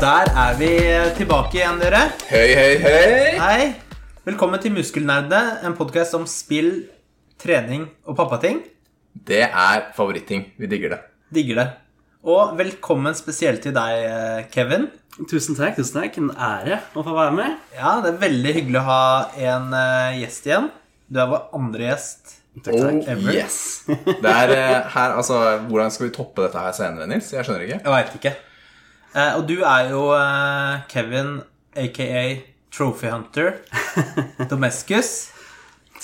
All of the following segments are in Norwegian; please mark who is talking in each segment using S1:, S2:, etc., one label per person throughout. S1: der er vi tilbake igjen, dere.
S2: Hei, hei, hei!
S1: Hei. Velkommen til Muskelnerde, en podkast om spill, trening og pappating.
S2: Det er favoritting. Vi digger det.
S1: Digger det. Og velkommen spesielt til deg, eh, Kevin.
S3: Tusen takk. tusen takk. En ære å få være med.
S1: Ja, det er veldig hyggelig å ha en eh, gjest igjen. Du er vår andre gjest.
S3: Takk, takk.
S2: Oh,
S1: Ever.
S2: yes! Det er eh, her, altså, Hvordan skal vi toppe dette her senere, Nils? Jeg skjønner ikke.
S1: Jeg veit ikke. Eh, og du er jo eh, Kevin, aka Trophy Hunter Domescus.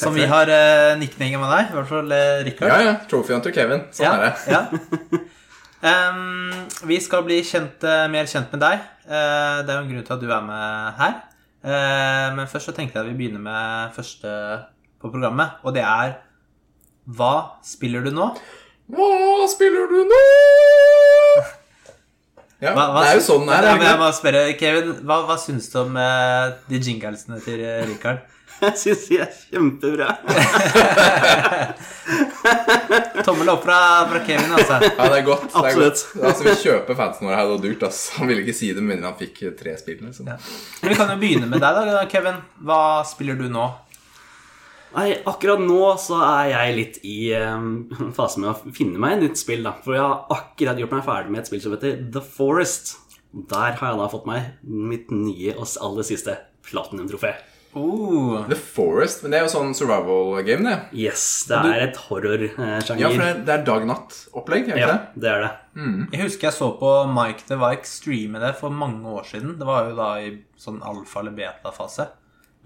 S1: Som vi har uh, nicknamet med deg. I hvert fall uh, Richard.
S2: Ja, ja. Trophy hunter Kevin. Sånn er det.
S1: ja. Ehm, vi skal bli kjent, eh, mer kjent med deg. Eh, det er jo en grunn til at du er med her. Eh, men først så tenkte jeg at vi begynner med første på programmet, og det er Hva spiller du nå?
S2: Hva spiller du nå? Ja,
S1: Hva, hva
S2: det er jo
S1: syns-
S2: sånn det er.
S1: Ja, men jeg
S2: er det ikke det?
S1: må spørre, Kevin, hva, hva syns du om eh, de jinglesene til eh, Richard?
S3: Jeg syns de er kjempebra.
S1: Tommel opp fra, fra Kevin, altså.
S2: Ja, det er godt. Det er godt.
S3: Absolutt.
S2: Altså, vi kjøper fansen våre her, det var dyrt, ass. Han ville ikke si det med mindre han fikk eh, tre spill. liksom.
S1: Ja. Vi kan jo begynne med deg, da, Kevin. Hva spiller du nå?
S3: Nei, akkurat nå så er jeg litt i eh, fasen med å finne meg et nytt spill, da. For jeg har akkurat gjort meg ferdig med et spill som heter The Forest. Der har jeg da fått meg mitt nye og aller siste platinum-trofé.
S1: Oh,
S2: The Forest, men det er jo sånn survival game, det.
S3: Yes, det er et horror-sjanger.
S2: Ja, for det er- det er dag-natt-opplegg, er det ikke
S3: ja,
S2: det?
S3: det er det.
S1: Jeg husker jeg så på Mike the Vike streame det for mange år siden. Det var jo da i sånn alfa- eller beta-fase.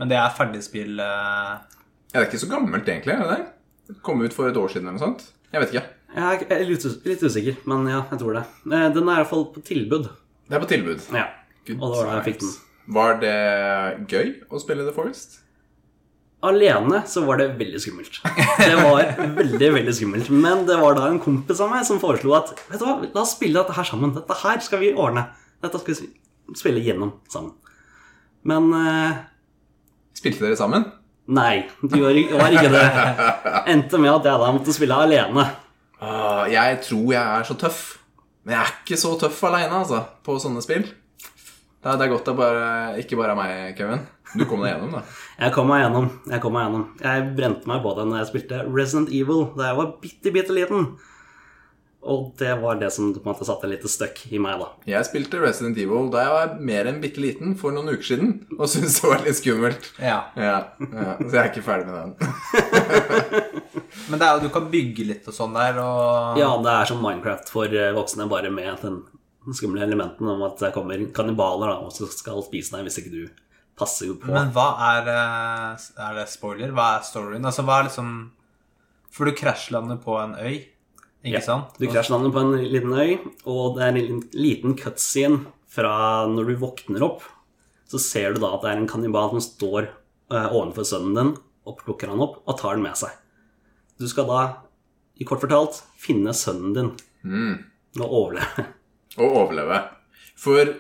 S1: Men det er ferdigspill eh,
S2: Ja, det er ikke så gammelt egentlig, er det det? Kom ut for et år siden eller noe sånt? Jeg vet ikke.
S3: Jeg er litt us- litt usikker, men ja, jeg tror det. Eh, Den er iallfall på tilbud.
S2: Det er på tilbud.
S3: Ja,
S2: Good
S3: og det var da jeg fikk den.
S2: times. Var det gøy å spille The Forest?
S3: Alene så var det veldig skummelt. Det var veldig, veldig skummelt. Men det var da en kompis av meg som foreslo at vet du hva, la oss spille dette her sammen. Dette her skal vi ordne. Dette skal vi spille gjennom sammen. Men eh,
S2: Spilte dere sammen?
S3: nei, det var det var ikke det. Endte med at jeg da måtte spille alene.
S2: Ah, jeg tror jeg er så tøff. Men jeg er ikke så tøff aleine, altså, på sånne spill. Det er, det er godt det bare, ikke bare er meg, Kevin. Du kom deg gjennom, da.
S3: Jeg kom meg gjennom. Jeg kom meg gjennom. Jeg brente meg på det når jeg spilte Resident Evil da jeg var bitte, bitte liten. Og det var det som på en måte satte litt støkk i meg, da.
S2: Jeg spilte Resident Evil da jeg var mer enn bitte liten for noen uker siden, og syntes det var litt skummelt.
S1: Ja.
S2: Ja, ja, Så jeg er ikke ferdig med den.
S1: Men det er jo du kan bygge litt og sånn der, og
S3: Ja, det er som Minecraft for eh, voksne, bare med den skumle elementen om at det kommer kannibaler da, og så skal spise deg hvis ikke du passer på.
S1: Men hva er eh, Er det spoiler? Hva er storyen? Altså, hva er liksom For du krasjlander på en øy, ikke
S3: Ja,
S1: sant?
S3: Du krasjlander på en liten øy, og det er en liten- liten cutscene fra når du våkner opp. Så ser du da at det er en kannibal som står eh, ovenfor sønnen din, og plukker han opp og tar den med seg. Du skal da, i kort fortalt, finne sønnen din
S1: Mm.
S3: og overleve.
S2: Å overleve. For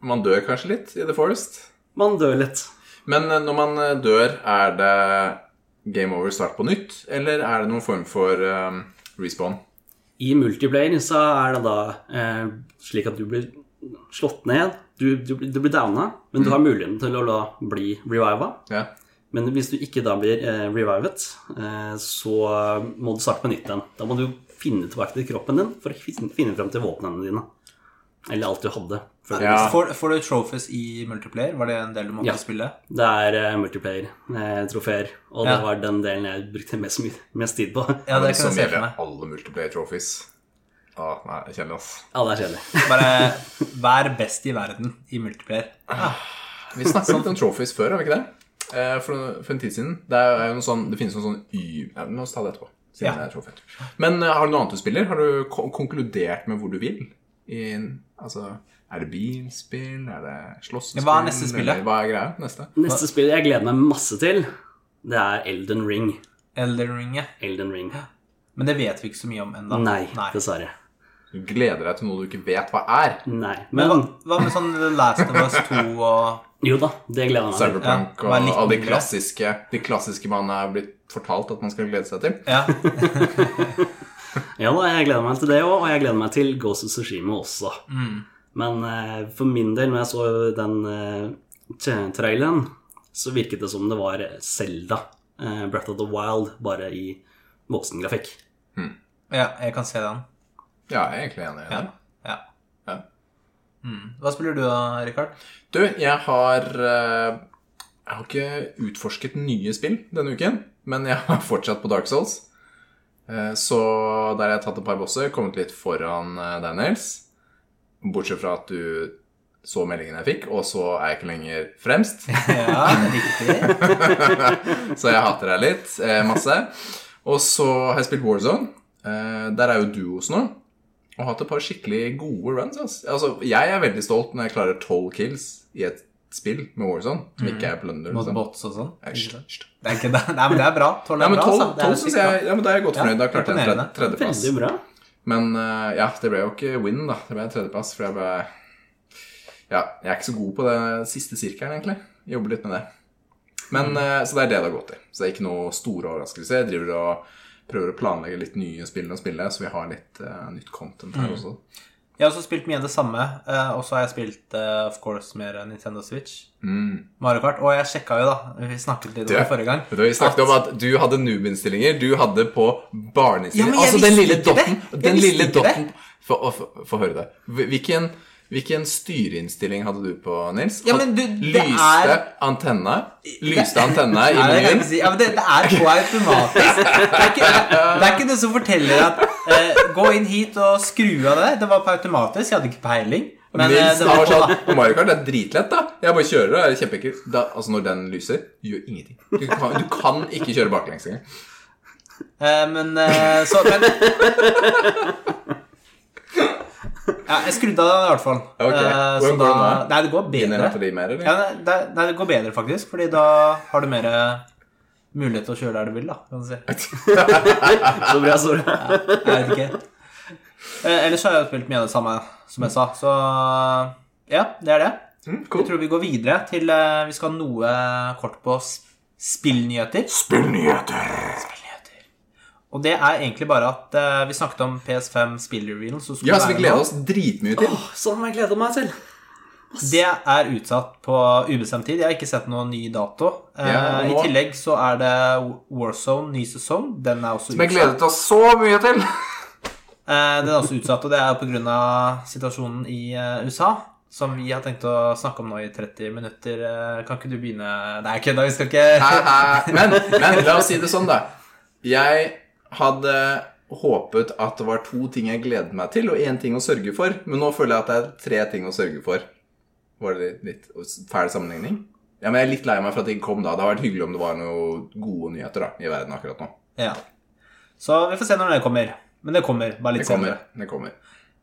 S2: man dør kanskje litt i The Forest.
S3: Man dør litt.
S2: Men eh, når man eh, dør, er det game over start på nytt, eller er det noen form for eh, respawn?
S3: I multiplayer så er det da eh, slik at du blir slått ned, du, du, blir- du blir downa, men du har muligheten til å la bli reviva.
S2: Ja.
S3: Men hvis du ikke da blir eh, revivet, eh, så må du starte på nytt igjen. Da må du finne tilbake til kroppen din for å fin- finne frem til våpnene dine. Eller alt du hadde. før.
S2: Ja.
S1: Får, får du trophies i multiplayer? Var det en del du måtte
S3: Ja.
S1: spille?
S3: Det er eh, multiplayer-trofeer, og
S1: Ja.
S3: det var den delen jeg brukte mest, my- mest tid på.
S1: Ja, det kan
S2: Som
S1: jeg se for
S2: gjelder
S1: meg.
S2: liksom alle multiplayer trophies. Ah, nei, jeg kjenner oss.
S3: Ja, det er kjedelig.
S1: Bare vær best i verden i multiplayer.
S2: Vi snakket litt om trophies før, har vi ikke det? Eh, For, for en tid siden. Det, er jo noe sånn, det finnes noe sånn y... Ja, la oss ta det etterpå. Siden
S1: Ja.
S2: det er trophy. Men eh, har du noe annet du spiller? Har du ko- konkludert med hvor du vil? I, en- altså, er det bilspill? Er det slåssespill?
S1: Hva er neste spillet?
S2: eller Hva er greia? Neste?
S3: Neste spill jeg gleder meg masse til, det er Elden Ring.
S1: Elden Ring, ja.
S3: Elden Ring.
S1: Men det vet vi ikke så mye om ennå.
S3: Nei, dessverre.
S2: Du gleder deg til noe du ikke vet hva er.
S3: Nei.
S1: Men
S3: Men
S1: hva, hva med sånn The Last of Us 2 og
S3: jo da, det gleder jeg meg til.
S2: Cyberpunk
S1: Altså, Ja, hva er
S2: og
S1: litt
S2: alle de
S1: mindre?
S2: klassiske, de klassiske man er blitt fortalt at man skal glede seg til.
S1: Ja.
S3: Ja da, jeg gleder meg til det òg, og jeg gleder meg til Ghost of Sushima også. Men eh, for min del, når jeg så den eh, t- traileren, så virket det som det var Selda, eh, Breath of the Wild, bare i voksengrafikk.
S1: Ja, jeg kan se den.
S2: Ja, jeg er egentlig enig i det.
S1: Ja. ja.
S2: Ja.
S1: Mm. Hva spiller du da, Rikard?
S2: Du, jeg har eh, Jeg har ikke utforsket nye spill denne uken, men jeg har fortsatt på Dark Souls. Eh, Så der har jeg tatt et par bosser, kommet litt foran eh, deg, Nils. Bortsett fra at du så meldingen jeg fikk, og så er jeg ikke lenger fremst.
S1: Ja, riktig.
S2: Så jeg hater deg litt. eh, Masse. Og så har jeg spilt Warzone. Eh, Der er jo duos nå. Og hatt et par skikkelig gode runs. Ass. Altså, jeg er veldig stolt når jeg klarer tolv kills i et spill med Warzone, som ikke er plunder.
S1: Mm. Mot
S2: Liksom.
S1: bots og sånn.
S2: Nei, hysj, hysj.
S1: Det er ikke det. Nei, men det er bra. Tolv
S2: Nei,
S1: er
S2: men
S1: bra,
S2: tolv,
S1: altså. Det
S2: tolv
S1: er
S2: synes
S1: sykt bra.
S2: jeg, ja, men da er jeg godt
S1: Ja,
S2: fornøyd. Da klarte jeg en
S1: imponerende.
S2: tredje- tredjeplass.
S3: Veldig bra.
S2: Men eh, ja, det ble jo ikke win, da. Det ble en tredjeplass, for jeg ble Ja, jeg er ikke så god på det siste sirkelen, egentlig. Jeg Jobber litt med det. Men, eh, Så det er det det har gått i. Så det er ikke noe store overraskelse. Jeg driver og prøver å planlegge litt nye spill å spille, så vi har litt eh, nytt content her også.
S1: Jeg har også spilt mye av det samme, eh, og så har jeg spilt eh, of course mer Nintendo Switch.
S2: Mm.
S1: Mario Kart. Og jeg sjekka jo, da. Vi snakket litt om det forrige gang.
S2: Vet du, vi snakket om at du hadde noob-innstillinger. Du hadde på
S1: Ja,
S2: barneinnstillinger.
S1: men jeg
S2: altså
S1: visste
S2: den lille
S1: ikke
S2: dotten.
S1: det. Jeg
S2: Den
S1: visste
S2: lille
S1: ikke
S2: dotten Få å- få- få høre det. Hvilken, hvilken styreinnstilling hadde du på, Nils?
S1: Ja, men du, det er-
S2: lyste antenna? Lyste antenna
S1: Nei,
S2: i
S1: det, kan jeg
S2: menyen?
S1: ikke si. ja, men det, det er på automatisk. Det er ikke, det er ikke noe som forteller at eh, Gå inn hit og skru av det. Det var på automatisk. Jeg hadde ikke peiling. Men eh,
S2: Nils,
S1: det var på,
S2: sånn,
S1: da.
S2: på Mario Kart, det er dritlett, da. Jeg bare kjører, og det er kjempeekkelt. Da- Altså, når den lyser, gjør ingenting. Du kan, du kan ikke kjøre baklengs engang.
S1: Eh, men eh, så men, ja, Jeg skrudde av den i hvert fall.
S2: Ok.
S1: Eh, så
S2: Hvordan
S1: da-
S2: går det nå?
S1: Nei, det går bedre.
S2: Genererte de mer, eller?
S1: Ja, nei, det, nei, det går bedre, faktisk. Fordi da har du mer eh, mulighet til å kjøre der du vil, da. Kan du si.
S3: Så bra, så bra.
S1: Jeg vet ikke. Eh, ellers har jeg jo spilt mye av det samme som jeg sa, så eh, ja, det er det.
S2: Mm,
S1: Jeg
S2: cool.
S1: tror vi går videre til eh, Vi skal ha noe kort på s- spillnyheter.
S2: Spillnyheter.
S1: Spillnyheter. Og det er egentlig bare at eh, vi snakket om PS5 spillrevyen. Så skulle
S2: Ja, så vi
S1: det være
S2: gleder
S1: nå.
S2: oss dritmye til.
S3: Åh, Sånn har jeg gleda meg til.
S1: Det er utsatt på ubestemt tid. Jeg har ikke sett noen ny dato. Eh,
S2: Ja, og
S1: I
S2: nå-
S1: tillegg så er det Warzone ny sesong. Den er også
S2: Vi
S1: utsatt.
S2: gledet oss så mye til.
S1: Eh, Den er også utsatt, og det er pga. situasjonen i eh, USA. Som vi har tenkt å snakke om nå i 30 minutter. Eh, Kan ikke du begynne Nei, jeg kødda, vi skal ikke
S2: Hæ, hæ. Men, men la oss si det sånn, da. Jeg hadde håpet at det var to ting jeg gledet meg til, og én ting å sørge for. Men nå føler jeg at det er tre ting å sørge for. Var det litt fæl sammenligning? Ja, men Jeg er litt lei meg for at det ikke kom da. Det hadde vært hyggelig om det var noen gode nyheter da, i verden akkurat nå.
S1: Ja. Så vi får se når det kommer. Men det kommer. Bare
S2: Det
S1: litt
S2: kommer.
S1: senere.
S2: det kommer.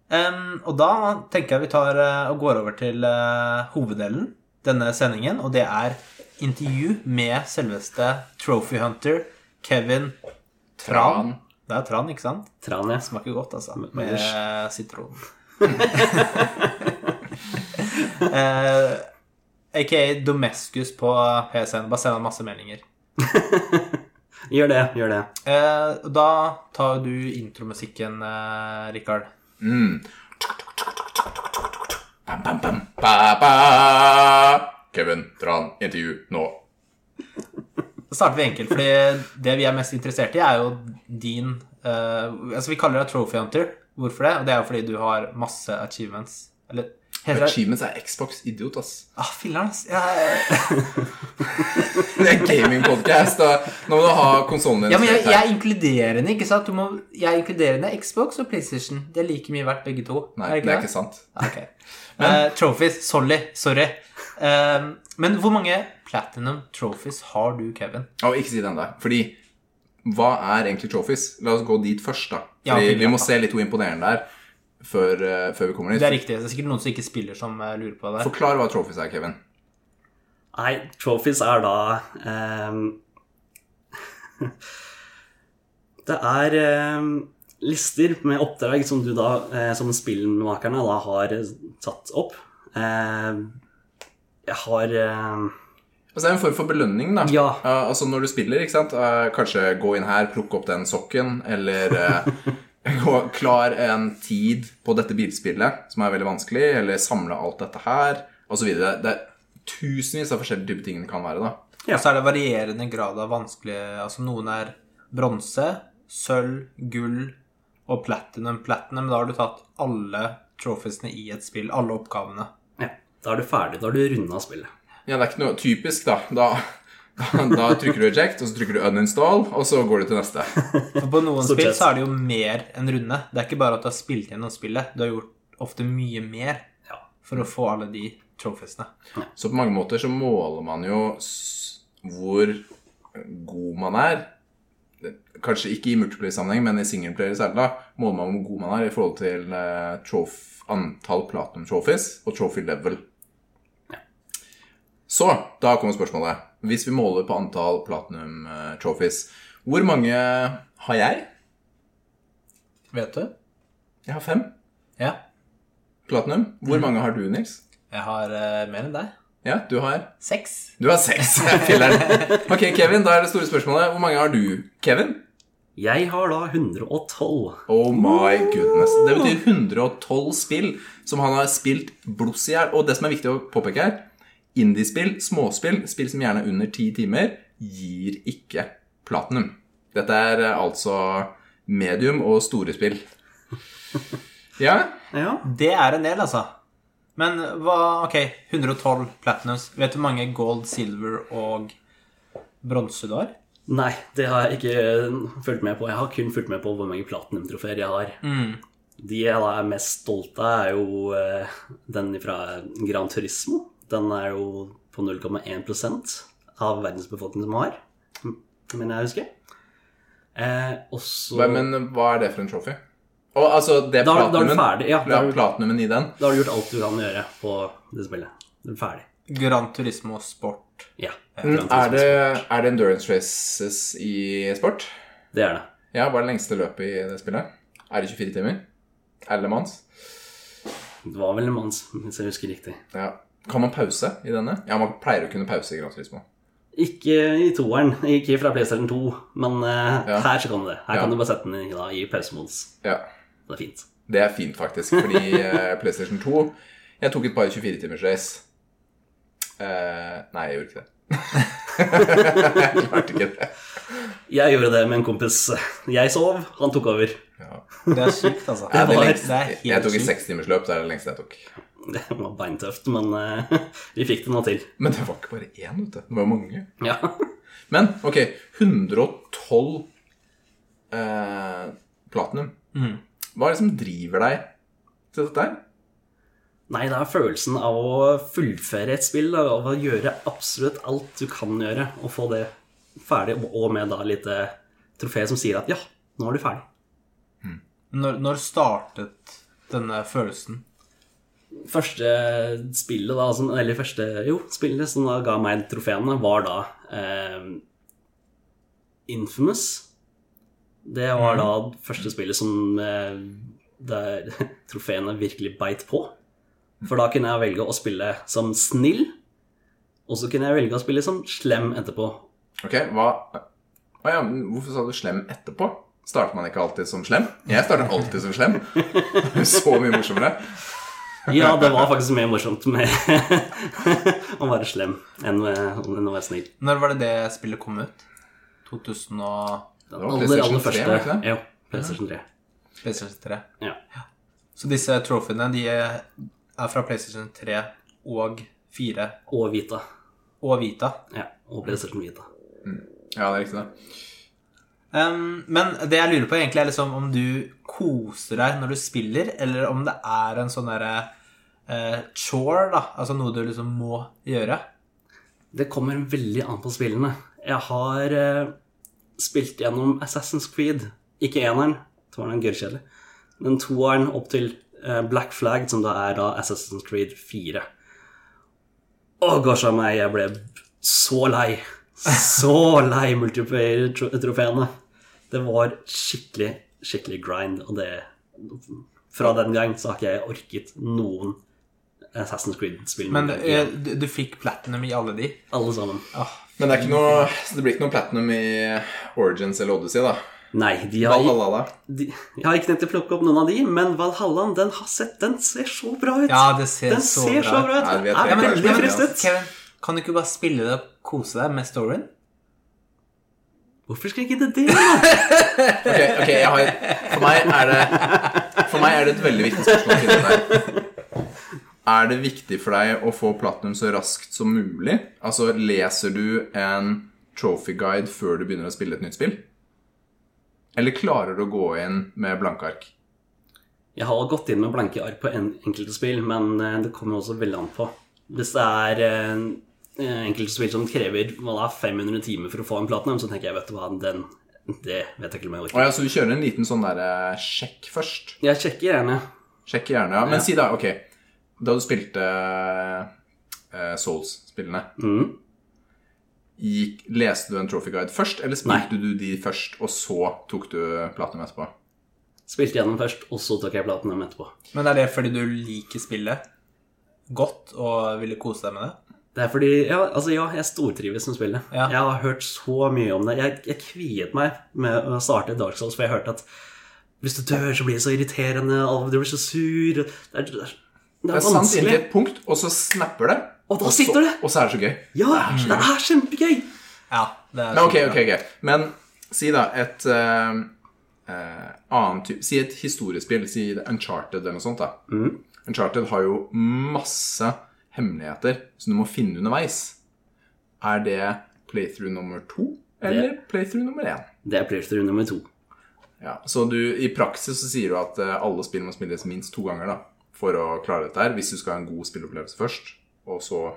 S1: Em, og da tenker jeg vi tar eh, og går over til eh, hoveddelen denne sendingen, og det er intervju med selveste Trophy Hunter Kevin Tran.
S2: Tran.
S1: Det er Tran, ikke sant?
S3: Tran, ja.
S1: Smaker godt, altså.
S3: men
S1: Med
S3: det
S1: sitron. eh, AKA Domescus på PSN. Bare send ham masse meldinger.
S3: Gjør det, gjør det.
S1: Eh, og da tar du intromusikken, eh, Rikard.
S2: Mm. Bam, bam, bam. Ba, ba. Kevin Tran, intervju nå.
S1: Da starter vi enkelt, fordi det vi er mest interessert i, er jo din eh, Altså, vi kaller deg Trophy Hunter. Hvorfor det? Og det er jo fordi du har masse achievements. Eller heter det
S2: Achievements er Xbox-idiot, ass.
S1: Ah, filler'n, ass. Jeg,
S2: Det er gamingpodkast, og nå må du ha konsollen din.
S1: ja, men jeg,
S2: straight
S1: jeg
S2: her.
S1: er inkluderende, ikke sant? Du må, jeg er inkluderende Xbox og PlayStation. De er like mye verdt, begge to.
S2: Nei, det er ikke sant.
S1: Ok. Eh, trophies. Sorry. Sorry. Eh, men hvor mange platinum trophies har du, Kevin?
S2: Og ikke si det ennå. Fordi hva er egentlig trophies? La oss gå dit først, da.
S1: Ja,
S2: Fordi
S1: ok,
S2: vi
S1: greit,
S2: må
S1: da.
S2: se litt hvor imponerende det er før, eh, før vi kommer dit.
S1: Det er riktig. Det er sikkert noen som ikke spiller, som eh, lurer på det.
S2: Forklar hva trophies er, Kevin.
S3: Nei, trophies er da ehm, Det er ehm, lister med oppdrag som du da, eh, som spillmakerne da har eh, satt opp. Ehm, jeg har ehm,
S2: Altså, det er en form for belønning, da.
S3: Ja.
S2: Eh, altså når du spiller, ikke sant. Eh, kanskje gå inn her, plukke opp den sokken, eller eh, gå- klar en tid på dette bilspillet, som er veldig vanskelig, eller samle alt dette her, osv. Det er tusenvis av forskjellige typer ting det kan være, da.
S1: Og så er det varierende grad av vanskelig Altså noen er bronse, sølv, gull og platinum. Platinum, da har du tatt alle trophiesene i et spill, alle oppgavene.
S3: Ja, Da er du ferdig. Da har du runda spillet.
S2: Ja, det er ikke noe typisk, da. Da, da, da trykker du eject, og så trykker du uninstall, og så går du til neste.
S1: For på noen
S3: Stort
S1: spill
S3: sett.
S1: så er det jo mer enn runde. Det er ikke bare at du har spilt gjennom spillet, du har gjort ofte mye mer
S3: Ja.
S1: for å få alle de trophiesene.
S2: Så på mange måter så måler man jo s- hvor god man er. Kanskje ikke i multiplayer-sammenheng, men i singleplayer særlig. da, Måler man hvor god man er i forhold til eh, trof, antall platinum trophies og trophy level. Så da kommer spørsmålet. Hvis vi måler på antall platinum eh, trophies, hvor mange har jeg?
S1: Vet du?
S2: Jeg har fem
S1: Ja.
S2: platinum. Hvor
S3: Mm.
S2: mange har du, Nils?
S1: Jeg har eh, mer enn deg.
S2: Ja, du har
S1: Seks.
S2: Du har seks. Filler'n. Ok, Kevin, da er det store spørsmålet. Hvor mange har du, Kevin?
S3: Jeg har da 112.
S2: Oh my goodness. Det betyr 112 spill som han har spilt blods i hjel. Og det som er viktig å påpeke her, indiespill, småspill, spill som gjerne er under ti timer, gir ikke platinum. Dette er eh, altså medium og store spill. Ja,
S3: Ja.
S1: Det er en del, altså. Men hva Ok, 112 platinums. Vet du hvor mange gold, silver og bronse du har?
S3: Nei, det har jeg ikke eh, fulgt med på. Jeg har kun fulgt med på hvor mange platinumtrofeer jeg har.
S2: Mm.
S3: De jeg da er mest stolt av, er jo eh, den fra Gran Turismo. Den er jo på 0,1 av verdens befolkning som har, men jeg husker. Eh, også,
S2: hva- men hva er det for en trophy? Og altså, det er
S3: Da er du- da er du
S2: platinumen.
S3: ferdig, ja. Da er du-
S2: platinumen i den.
S3: Da har du gjort alt du kan gjøre på det spillet. Du er ferdig.
S1: Gran Turismo Sport.
S3: Ja.
S2: Mm, Er det, er det endurance races i sport?
S3: Det er det.
S2: Ja, hva er det lengste løpet i det spillet? Er det 24 timer? Er det manns?
S3: Det var vel en mann, som- hvis jeg husker riktig.
S2: Ja. Kan man pause i denne? Ja, man pleier å kunne pause i Gran Turismo.
S3: Ikke i toeren, ikke fra PlayStation 2, men eh,
S2: Ja.
S3: her så kan du det. Her
S2: Ja.
S3: kan du bare sette den i, da, i pausemods.
S2: Ja,
S3: Det er fint.
S2: Det er fint, faktisk, fordi eh, PlayStation 2 Jeg tok et par 24-timers race. Eh, nei, jeg gjorde ikke det. jeg klarte ikke det.
S3: Jeg gjorde det med en kompis. Jeg sov, han tok over.
S2: Ja.
S1: Det er sykt, altså.
S2: Det er det
S3: var-
S2: lengste.
S1: det er helt
S2: Jeg tok et
S1: sykt.
S2: sekstimersløp. Det er det lengste jeg tok.
S3: Det var beintøft, men eh, vi fikk det nå til.
S2: Men det var ikke bare én, vet du. Det var mange.
S3: Ja.
S2: Men ok, 112 eh, platinum. Hva er det som driver deg til dette her?
S3: Nei, det er følelsen av å fullføre et spill, da, av å gjøre absolutt alt du kan gjøre, og få det ferdig, og med da litt eh, trofé som sier at ja, nå er du ferdig.
S1: Når, når startet denne følelsen?
S3: Første spillet, da, som, eller første jo, spillet som da ga meg trofeene, var da eh, Infamous. Det var da
S2: Mhm.
S3: første spillet som eh, der trofeene virkelig beit på. For da kunne jeg velge å spille som snill, og så kunne jeg velge å spille som slem etterpå.
S2: Ok, hva Å ja, men Hvorfor sa du slem etterpå? Starter man ikke alltid som slem? Jeg starter alltid som slem. Så mye morsommere.
S3: Ja, det var faktisk mer morsomt med å være slem enn eh, enn å være snill.
S1: Når var det det spillet kom ut? 2000 og
S3: Den
S2: var
S3: aller,
S2: PlayStation 3,
S3: aller
S2: var det ikke
S3: første.
S2: det?
S3: Jo, PlayStation 3.
S1: PlayStation 3.
S3: Ja.
S1: Så disse trophyene, de er fra PlayStation 3 og 4
S3: Og Vita.
S1: og Vita.
S3: Ja, og PlayStation Vita.
S2: Ja, det er riktig, det.
S1: Um, men det jeg lurer på egentlig er liksom om du koser deg når du spiller, eller om det er en sånn derre eh, chore, da. Altså noe du liksom må gjøre.
S3: Det kommer veldig an på spillene. Jeg har eh, spilt gjennom Assassin's Creed. Ikke eneren, toeren er gørrkjedelig. Men toeren opp til eh, Black Flag, som da er da Assassin's Creed 4. Å, gosh a meg, jeg ble så lei. Så lei multiplayer-trofeene. Det var skikkelig, skikkelig grind, og det Fra den gang så har ikke jeg orket noen Assassin's Creed-spill.
S1: Men eh, du, du fikk platinum i alle de.
S3: alle sammen.
S1: Åh,
S2: Men det, er ikke noe, så det blir ikke noe platinum i Origins eller Odyssey, da.
S3: Nei, de har
S2: Valhalla, da.
S3: de, Jeg har ikke tenkt å plukke opp noen av de, men Valhallan, den har sett Den ser så bra ut!
S1: Ja, det ser
S3: den
S1: så
S3: ser
S1: bra
S3: så
S1: ut.
S3: bra ut!
S2: Nei, vi vet ikke.
S3: Jeg er
S1: men,
S2: det
S3: veldig
S1: men,
S3: fristet.
S1: Kevin, kan du ikke bare spille det og kose deg med storyen?
S3: Hvorfor skal jeg ikke det? da?
S2: Ok, ok, jeg har For meg er det For meg er det et veldig viktig spørsmål å finne der. Er det viktig for deg å få platinum så raskt som mulig? Altså, leser du en trophy guide før du begynner å spille et nytt spill? Eller klarer du å gå inn med blanke ark?
S3: Jeg har gått inn med blanke ark på en, enkelte spill, men eh, det kommer også veldig an på. Hvis det er eh, eh, enkelte spill som krever hva da, 500 timer for å få en platinum, så tenker jeg vet du hva, den Det vet jeg ikke om jeg
S2: Å
S3: orker.
S2: ja, så du kjører en liten sånn der eh, sjekk først?
S3: Jeg sjekker gjerne.
S2: Sjekk gjerne, ja. Men si da, ok Da du spilte eh, Souls-spillene
S3: Mhm.
S2: gikk, Leste du en trophy guide først, eller spilte du de først, og så tok du platinum etterpå?
S3: Spilte gjennom først, og så tok jeg platinum etterpå.
S1: Men er det fordi du liker spillet godt og ville kose deg med det?
S3: Det er fordi Ja, altså ja, jeg stortrives som spillet.
S1: Ja.
S3: Jeg har hørt så mye om det. Jeg, jeg kviet meg med å starte Dark Souls, for jeg hørte at hvis du dør, så blir det så irriterende, og du blir så sur og Det er, det er, det
S2: Det
S3: er
S2: er sant
S3: vanskelig.
S2: inntil et punkt, og så snapper det.
S3: Og da
S2: så-
S3: sitter det.
S2: Og så er det så gøy.
S3: Ja, det er kjempegøy!
S1: Ja, det er
S2: Men ok,
S1: kjempebra.
S2: ok, ok. Men si da et eh, eh, annet type Si et historiespill, si Uncharted eller noe sånt. da.
S3: Mm,
S2: Uncharted har jo masse hemmeligheter som du må finne underveis. Er det playthrough nummer to eller playthrough nummer én?
S3: Det er playthrough nummer to.
S2: Ja, så du, I praksis så sier du at eh, alle spill må spilles minst to ganger da, for å klare dette her, hvis du skal ha en god spillopplevelse først. Og så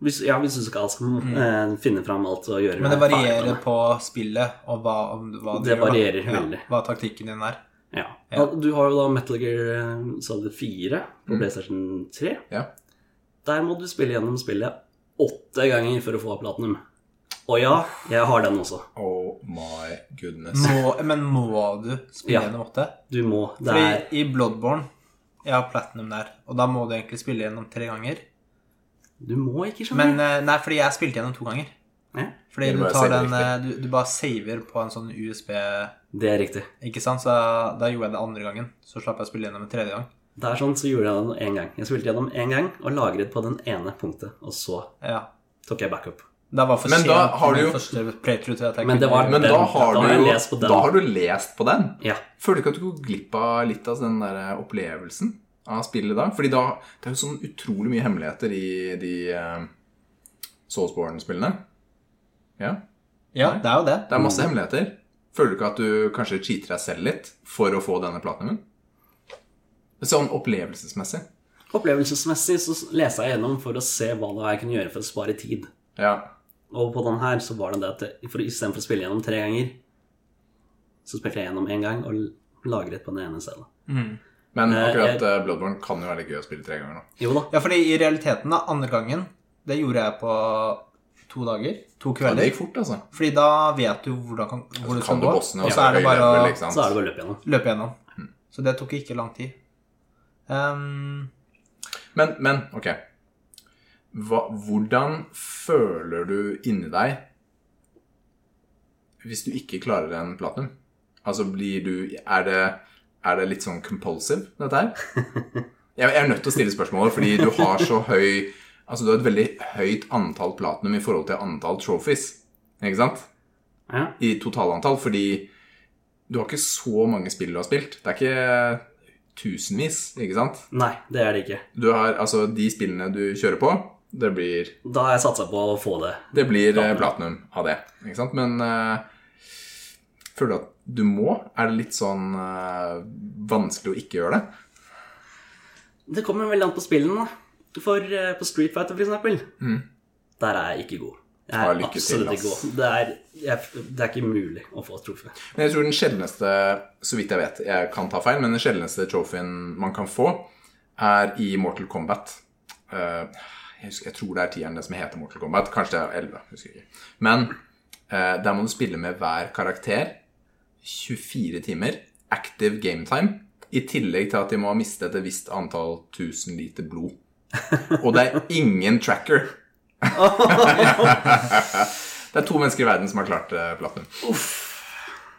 S3: Hvis, ja, hvis du skal altså, eh, finne fram alt og gjøre
S1: Men det
S3: ferdig
S1: varierer
S3: med det.
S1: på spillet og hva, om, hva du
S3: Det
S1: da.
S3: varierer
S1: Ja,
S3: veldig.
S1: Hva taktikken din er.
S3: Ja. Og Du har jo da Metal Gear eh, Solid 4
S1: Mm.
S3: på PlayStation 3.
S2: Ja.
S3: Der må du spille gjennom spillet åtte ganger for å få platinum. Og ja, jeg har den også.
S2: Oh my goodness.
S1: Må, men må du spille
S3: Ja.
S1: gjennom åtte?
S3: Du må. Det
S1: Fordi
S3: er
S1: i Bloodborne Jeg har platinum der, og da må du egentlig spille gjennom tre ganger.
S3: Du må ikke,
S1: Men
S3: skjønne.
S1: eh, Nei, fordi jeg spilte gjennom to ganger.
S3: Ja,
S1: Fordi
S2: Du
S1: du,
S2: bare
S1: tar
S2: saver
S1: den, eh, du, du bare saver på en sånn USB
S3: det er riktig.
S1: Ikke sant? Så da gjorde jeg det andre gangen. Så slapp jeg å spille gjennom en tredje gang.
S3: Det er sånn, så gjorde jeg den én gang. Jeg spilte gjennom én gang og lagret på den ene punktet. Og så
S1: Ja.
S3: tok jeg backup.
S1: Da var for
S2: Men
S1: sent
S2: da har
S1: på
S2: du
S1: min
S2: jo-
S1: første playthrough til at jeg
S3: Men det var-
S2: Men
S3: Den-
S2: da har,
S3: da
S2: du
S3: har jeg
S2: jo,
S3: lest på den.
S2: da har du lest på den.
S3: Ja.
S2: Føler du ikke at du går glipp av litt av den der eh, opplevelsen av spillet da? Fordi da, det er jo sånn utrolig mye hemmeligheter i de uh, Soulsborne-spillene. Ja,
S1: Ja, det er jo det.
S2: det er masse hemmeligheter. Føler du ikke at du kanskje cheater deg selv litt for å få denne platinumen? Sånn opplevelsesmessig.
S3: Opplevelsesmessig så leste jeg gjennom for å se hva det var jeg kunne gjøre for å spare tid.
S2: Ja. Og
S3: Og på den her så var det det at jeg- for istedenfor å spille gjennom tre ganger, så spilte jeg gjennom én gang og l- lagret på den ene stedet.
S1: Mm.
S2: Men
S3: Eh,
S2: akkurat
S3: jeg-
S2: eh, Bloodborne kan jo være litt gøy å spille tre ganger nå.
S3: Jo da.
S1: Ja, fordi i realiteten, da, andre gangen, det gjorde jeg på to dager. To
S2: Ja, det
S1: kvelder.
S2: gikk fort, altså.
S1: Fordi da vet du hvordan kan, hvor du
S2: Kan
S1: skal
S2: du
S1: gå,
S2: bossene,
S1: og så er det bare å
S2: ikke sant?
S3: Så er det bare å løpe gjennom.
S1: løpe gjennom.
S2: Mm.
S1: Så det tok ikke lang tid. Ehm,
S2: Men, men ok. Hva, hvordan føler du inni deg hvis du ikke klarer en platinum? Altså, blir du Er det, er det litt sånn compulsive, dette her? Jeg, jeg er nødt til å stille spørsmålet, fordi du har så høy Altså, du har et veldig høyt antall platinum i forhold til antall trophies, ikke sant?
S3: Ja.
S2: I totalantall, fordi du har ikke så mange spill du har spilt. Det er ikke tusenvis, ikke sant?
S3: Nei, det er det ikke.
S2: Du har altså de spillene du kjører på, det blir,
S3: Da har jeg satsa på å få det.
S2: det blir eh, platinum av det. Ikke sant? Men eh, føler du at du må? Er det litt sånn eh, vanskelig å ikke gjøre det?
S3: Det kommer veldig an på spillene. da. For eh, på Street Fighter, for eksempel, der er jeg ikke god. Jeg
S2: Ja,
S3: er
S2: Mm. lykke til,
S3: absolutt
S2: ass.
S3: ikke god. Det er, jeg, det er ikke mulig å få trofé.
S2: Men jeg tror den sjeldneste, så vidt jeg vet, jeg kan ta feil, men den sjeldneste trofeen man kan få, er i Mortal Kombat. Eh, jeg, husker, jeg tror det er tieren det som heter Mortal Kombat. Kanskje det er elleve. Husker jeg ikke. Men eh, der må du spille med hver karakter 24 timer active gametime. I tillegg til at de må ha mistet et visst antall tusen liter blod. Og det er ingen tracker. eh, det er to mennesker i verden som har klart uh, platinum.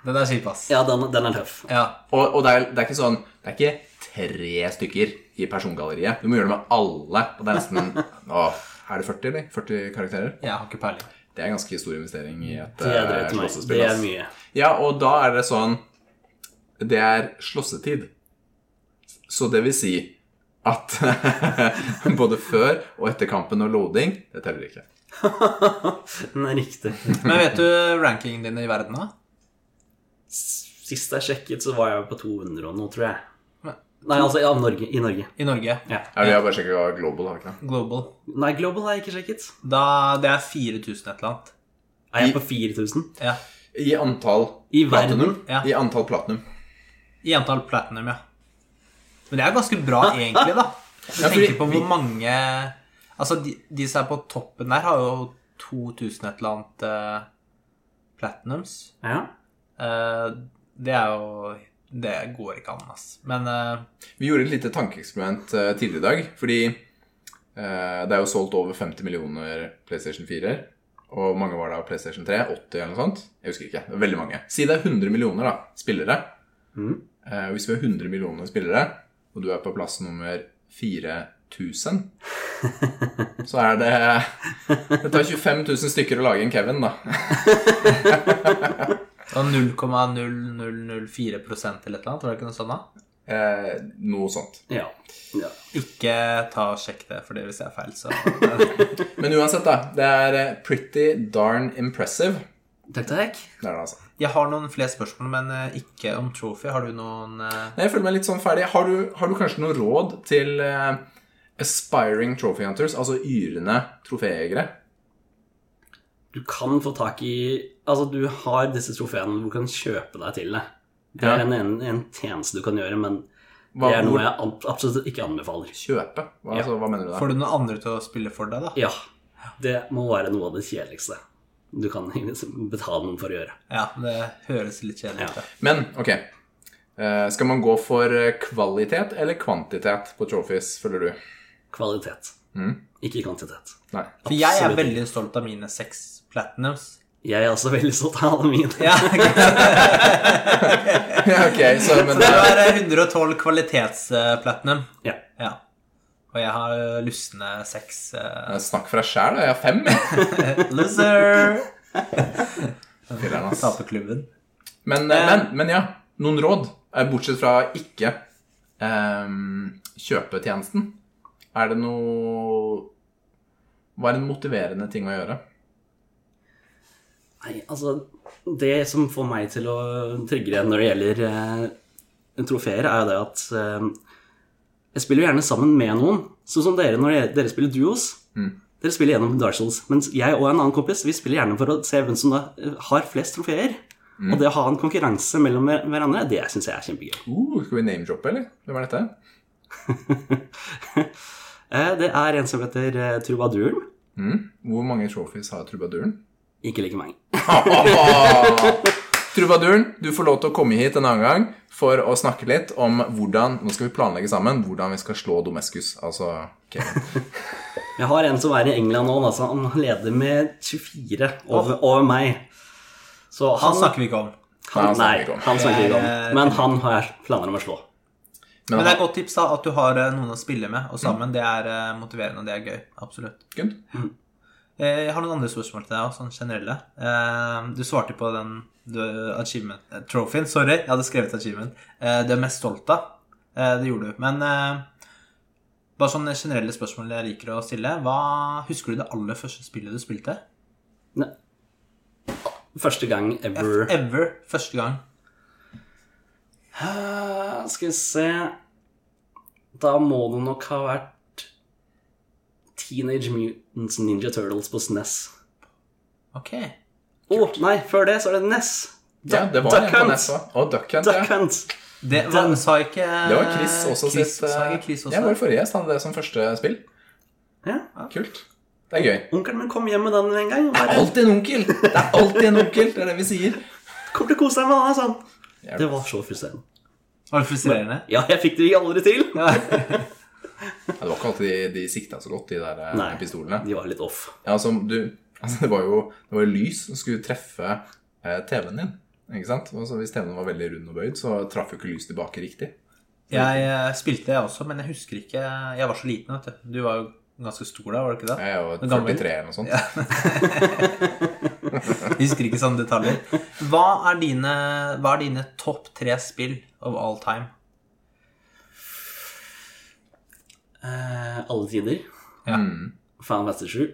S1: Den er kjip, ass.
S3: Ja, den, den er tøff.
S1: Ja.
S2: Og, og det, er, det er ikke sånn Det er ikke tre stykker i persongalleriet. Du må gjøre det med alle. Og det er nesten å, Er det 40, eller? 40 karakterer?
S1: Jeg har ikke peiling.
S2: Det er en ganske stor investering i et
S3: Det er,
S2: eh,
S3: drøyt til meg.
S2: slåssespill.
S3: det
S2: ass.
S3: er mye.
S2: Ja, og da er det sånn Det er slåssetid. Så det vil si at både før og etter kampen og loading Det teller ikke.
S3: Den er riktig.
S1: Men vet du rankingen din i verden, da?
S3: Sist jeg sjekket, så var jeg på 200 og noe, tror jeg.
S1: Men-
S3: Nei, altså ja, Norge, i Norge.
S1: I Norge?
S3: Ja.
S2: Ja, vi har bare sjekka Global, har vi ikke det?
S1: Global.
S3: Nei, Global har jeg ikke sjekket.
S1: Da, det er 4000 et eller annet.
S3: Er jeg på 4000?
S1: Ja.
S2: I antall
S3: I verden?
S1: Ja.
S2: I antall platinum.
S1: I antall platinum, ja. Men det er ganske bra, egentlig, da. Hvis Du
S2: Ja, fordi
S1: tenker på
S2: vi-
S1: hvor mange Altså, de, de som er på toppen der, har jo 2000 et eller annet eh, platinums.
S3: Ja.
S1: Eh, det er jo Det går ikke an, ass. Men eh,
S2: Vi gjorde et lite tankeeksperiment eh, tidligere i dag, fordi eh, det er jo solgt over 50 millioner PlayStation 4-er. Og hvor mange var det av PlayStation 3? 80 eller noe sånt? Jeg husker ikke. det er Veldig mange. Si det er 100 millioner da, spillere.
S3: Mhm.
S2: Eh, hvis vi har 100 millioner spillere, og du er på plass nummer 4000, så er det Det tar 25 000 stykker å lage en Kevin, da.
S1: sånn 0,0004 eller et eller annet, var det ikke noe sånt? da?
S2: Eh, noe sånt.
S3: ja. ja.
S1: Ikke ta og sjekk det, for det hvis jeg er feil, så
S2: Men uansett, da. Det er eh, pretty darn impressive.
S3: Takk, takk.
S2: Det er det, altså.
S1: Jeg har noen flere spørsmål, men eh, ikke om trophy. Har du noen eh,
S2: Nei, Jeg føler meg litt sånn ferdig. Har du, har du kanskje noe råd til eh, aspiring trophy hunters, altså yrende troféjegere?
S3: Du kan få tak i Altså, du har disse trofeene hvor du kan kjøpe deg til det. Det
S2: Ja.
S3: er en, en, en tjeneste du kan gjøre, men
S2: Hva-
S3: det er
S2: hvor-
S3: noe jeg ab- absolutt ikke anbefaler.
S2: Kjøpe? Hva, altså, hva mener du der?
S1: Får du noen andre til å spille for deg, da?
S3: Ja, det må være noe av det kjedeligste du kan betale noen for å gjøre.
S1: Ja, det høres litt kjedelig ut.
S3: Ja.
S1: da.
S2: Men ok, Eh, skal man gå for eh, kvalitet eller kvantitet på trophies, føler du?
S3: Kvalitet, ikke kvantitet.
S2: Nei.
S1: For jeg er
S3: Absolutt.
S1: veldig stolt av mine seks platinums.
S3: Jeg er også veldig stolt av alle mine.
S1: Ja,
S2: ok, så, men,
S1: det
S2: eh,
S1: var 112 kvalitetsplatinum.
S3: Ja.
S1: Ja. Og jeg har eh, lustne seks. eh,
S2: snakk for deg sjæl, da. Jeg har fem.
S1: Loser!
S2: Filler'n, ass.
S1: Taperklubben.
S2: Men, eh, men, men ja, noen råd, eh, bortsett fra ikke ehm, kjøpe tjenesten. Er det noe Hva er en motiverende ting å gjøre?
S3: Nei, altså Det som får meg til å trigge når det gjelder eh, trofeer, er jo det at eh, jeg spiller jo gjerne sammen med noen. Sånn som dere når dere, dere spiller duos. Dere spiller gjennom Dark Souls. Mens jeg og en annen kompis vi spiller gjerne for å se hvem som da eh, har flest trofeer. Og det å ha en konkurranse mellom hver- hverandre, det syns jeg er kjempegøy.
S2: Uh, skal vi name-droppe, eller? Hvem er dette?
S3: Eh, Det er en som heter eh, Trubaduren.
S2: Mm. Hvor mange trophies har trubaduren?
S3: Ikke like mange.
S2: Trubaduren, du får lov til å komme hit en annen gang for å snakke litt om hvordan Nå skal vi planlegge sammen hvordan vi skal slå Domescus. Altså Kevin.
S3: Jeg har en som er i England nå, altså han leder med 24 over, over meg. Så
S1: Han snakker vi ikke om.
S2: han
S3: Han,
S2: snakker
S3: nei,
S2: ikke om.
S3: han snakker ikke om.
S1: Eh,
S3: Men han har jeg planer om å slå.
S2: Men
S1: Men det er
S2: han,
S1: et godt tips da, at du har eh, noen å spille med, og sammen. Det er eh, motiverende, og det er gøy. Absolutt.
S2: Good.
S1: Eh, Jeg har noen andre spørsmål til deg også, sånn generelle. Eh, Du svarte på den du, achievement eh, Trophyen, sorry. Jeg hadde skrevet achievement. Eh, Du er mest stolt av. Eh, Det gjorde du. Men eh, bare sånne generelle spørsmål jeg liker å stille. Hva Husker du det aller første spillet du spilte?
S3: Nei. Første gang ever.
S1: Ever. Første gang.
S3: Eh, Skal vi se Da må det nok ha vært Teenage Mutants Ninja Turtles på SNES.
S1: Ok.
S3: Å, nei, før det så er det NES.
S2: Ja, det var
S3: Duck
S2: en på E
S3: Hunt.
S2: nesa. Og Duck Hunt.
S3: Duck
S2: Ja.
S3: Hunt.
S1: Det var, sa ikke
S2: Det var Chris også
S1: Chris,
S2: sitt eh,
S1: Sa ikke Chris også?
S2: Ja, vår forrige gjest hadde det som første spill.
S3: Ja.
S2: Kult. Det er gøy.
S3: Onkelen min kom hjem med den en gang. Og bare,
S2: Alltid en onkel! Det er alltid en onkel, det er det vi sier.
S3: Kommer til å kose deg med den, sånn. Det var så frustrerende.
S1: Var det frustrerende?
S3: Ja, jeg fikk det aldri til.
S2: Ja, det var ikke alltid de, de sikta så godt, de der eh,
S3: Nei.
S2: pistolene.
S3: De var litt off.
S2: Ja, altså, du, altså, det var jo det var jo lys som skulle treffe eh, TV-en din. Ikke sant? Og så hvis stevnen var veldig rund og bøyd, så traff jo ikke lys tilbake riktig.
S1: Jeg eh, spilte, jeg også, men jeg husker ikke Jeg var så liten, vet du. Du var jo ganske stor da, var du ikke det?
S2: Jeg er jo
S1: Men gammel.
S2: 43 eller noe sånt.
S1: Jeg Husker ikke sånne detaljer. Hva er dine, hva er dine topp tre spill of all time?
S3: Eh, alle tider.
S1: Ja.
S2: Mm.
S3: Final Fantasy 7.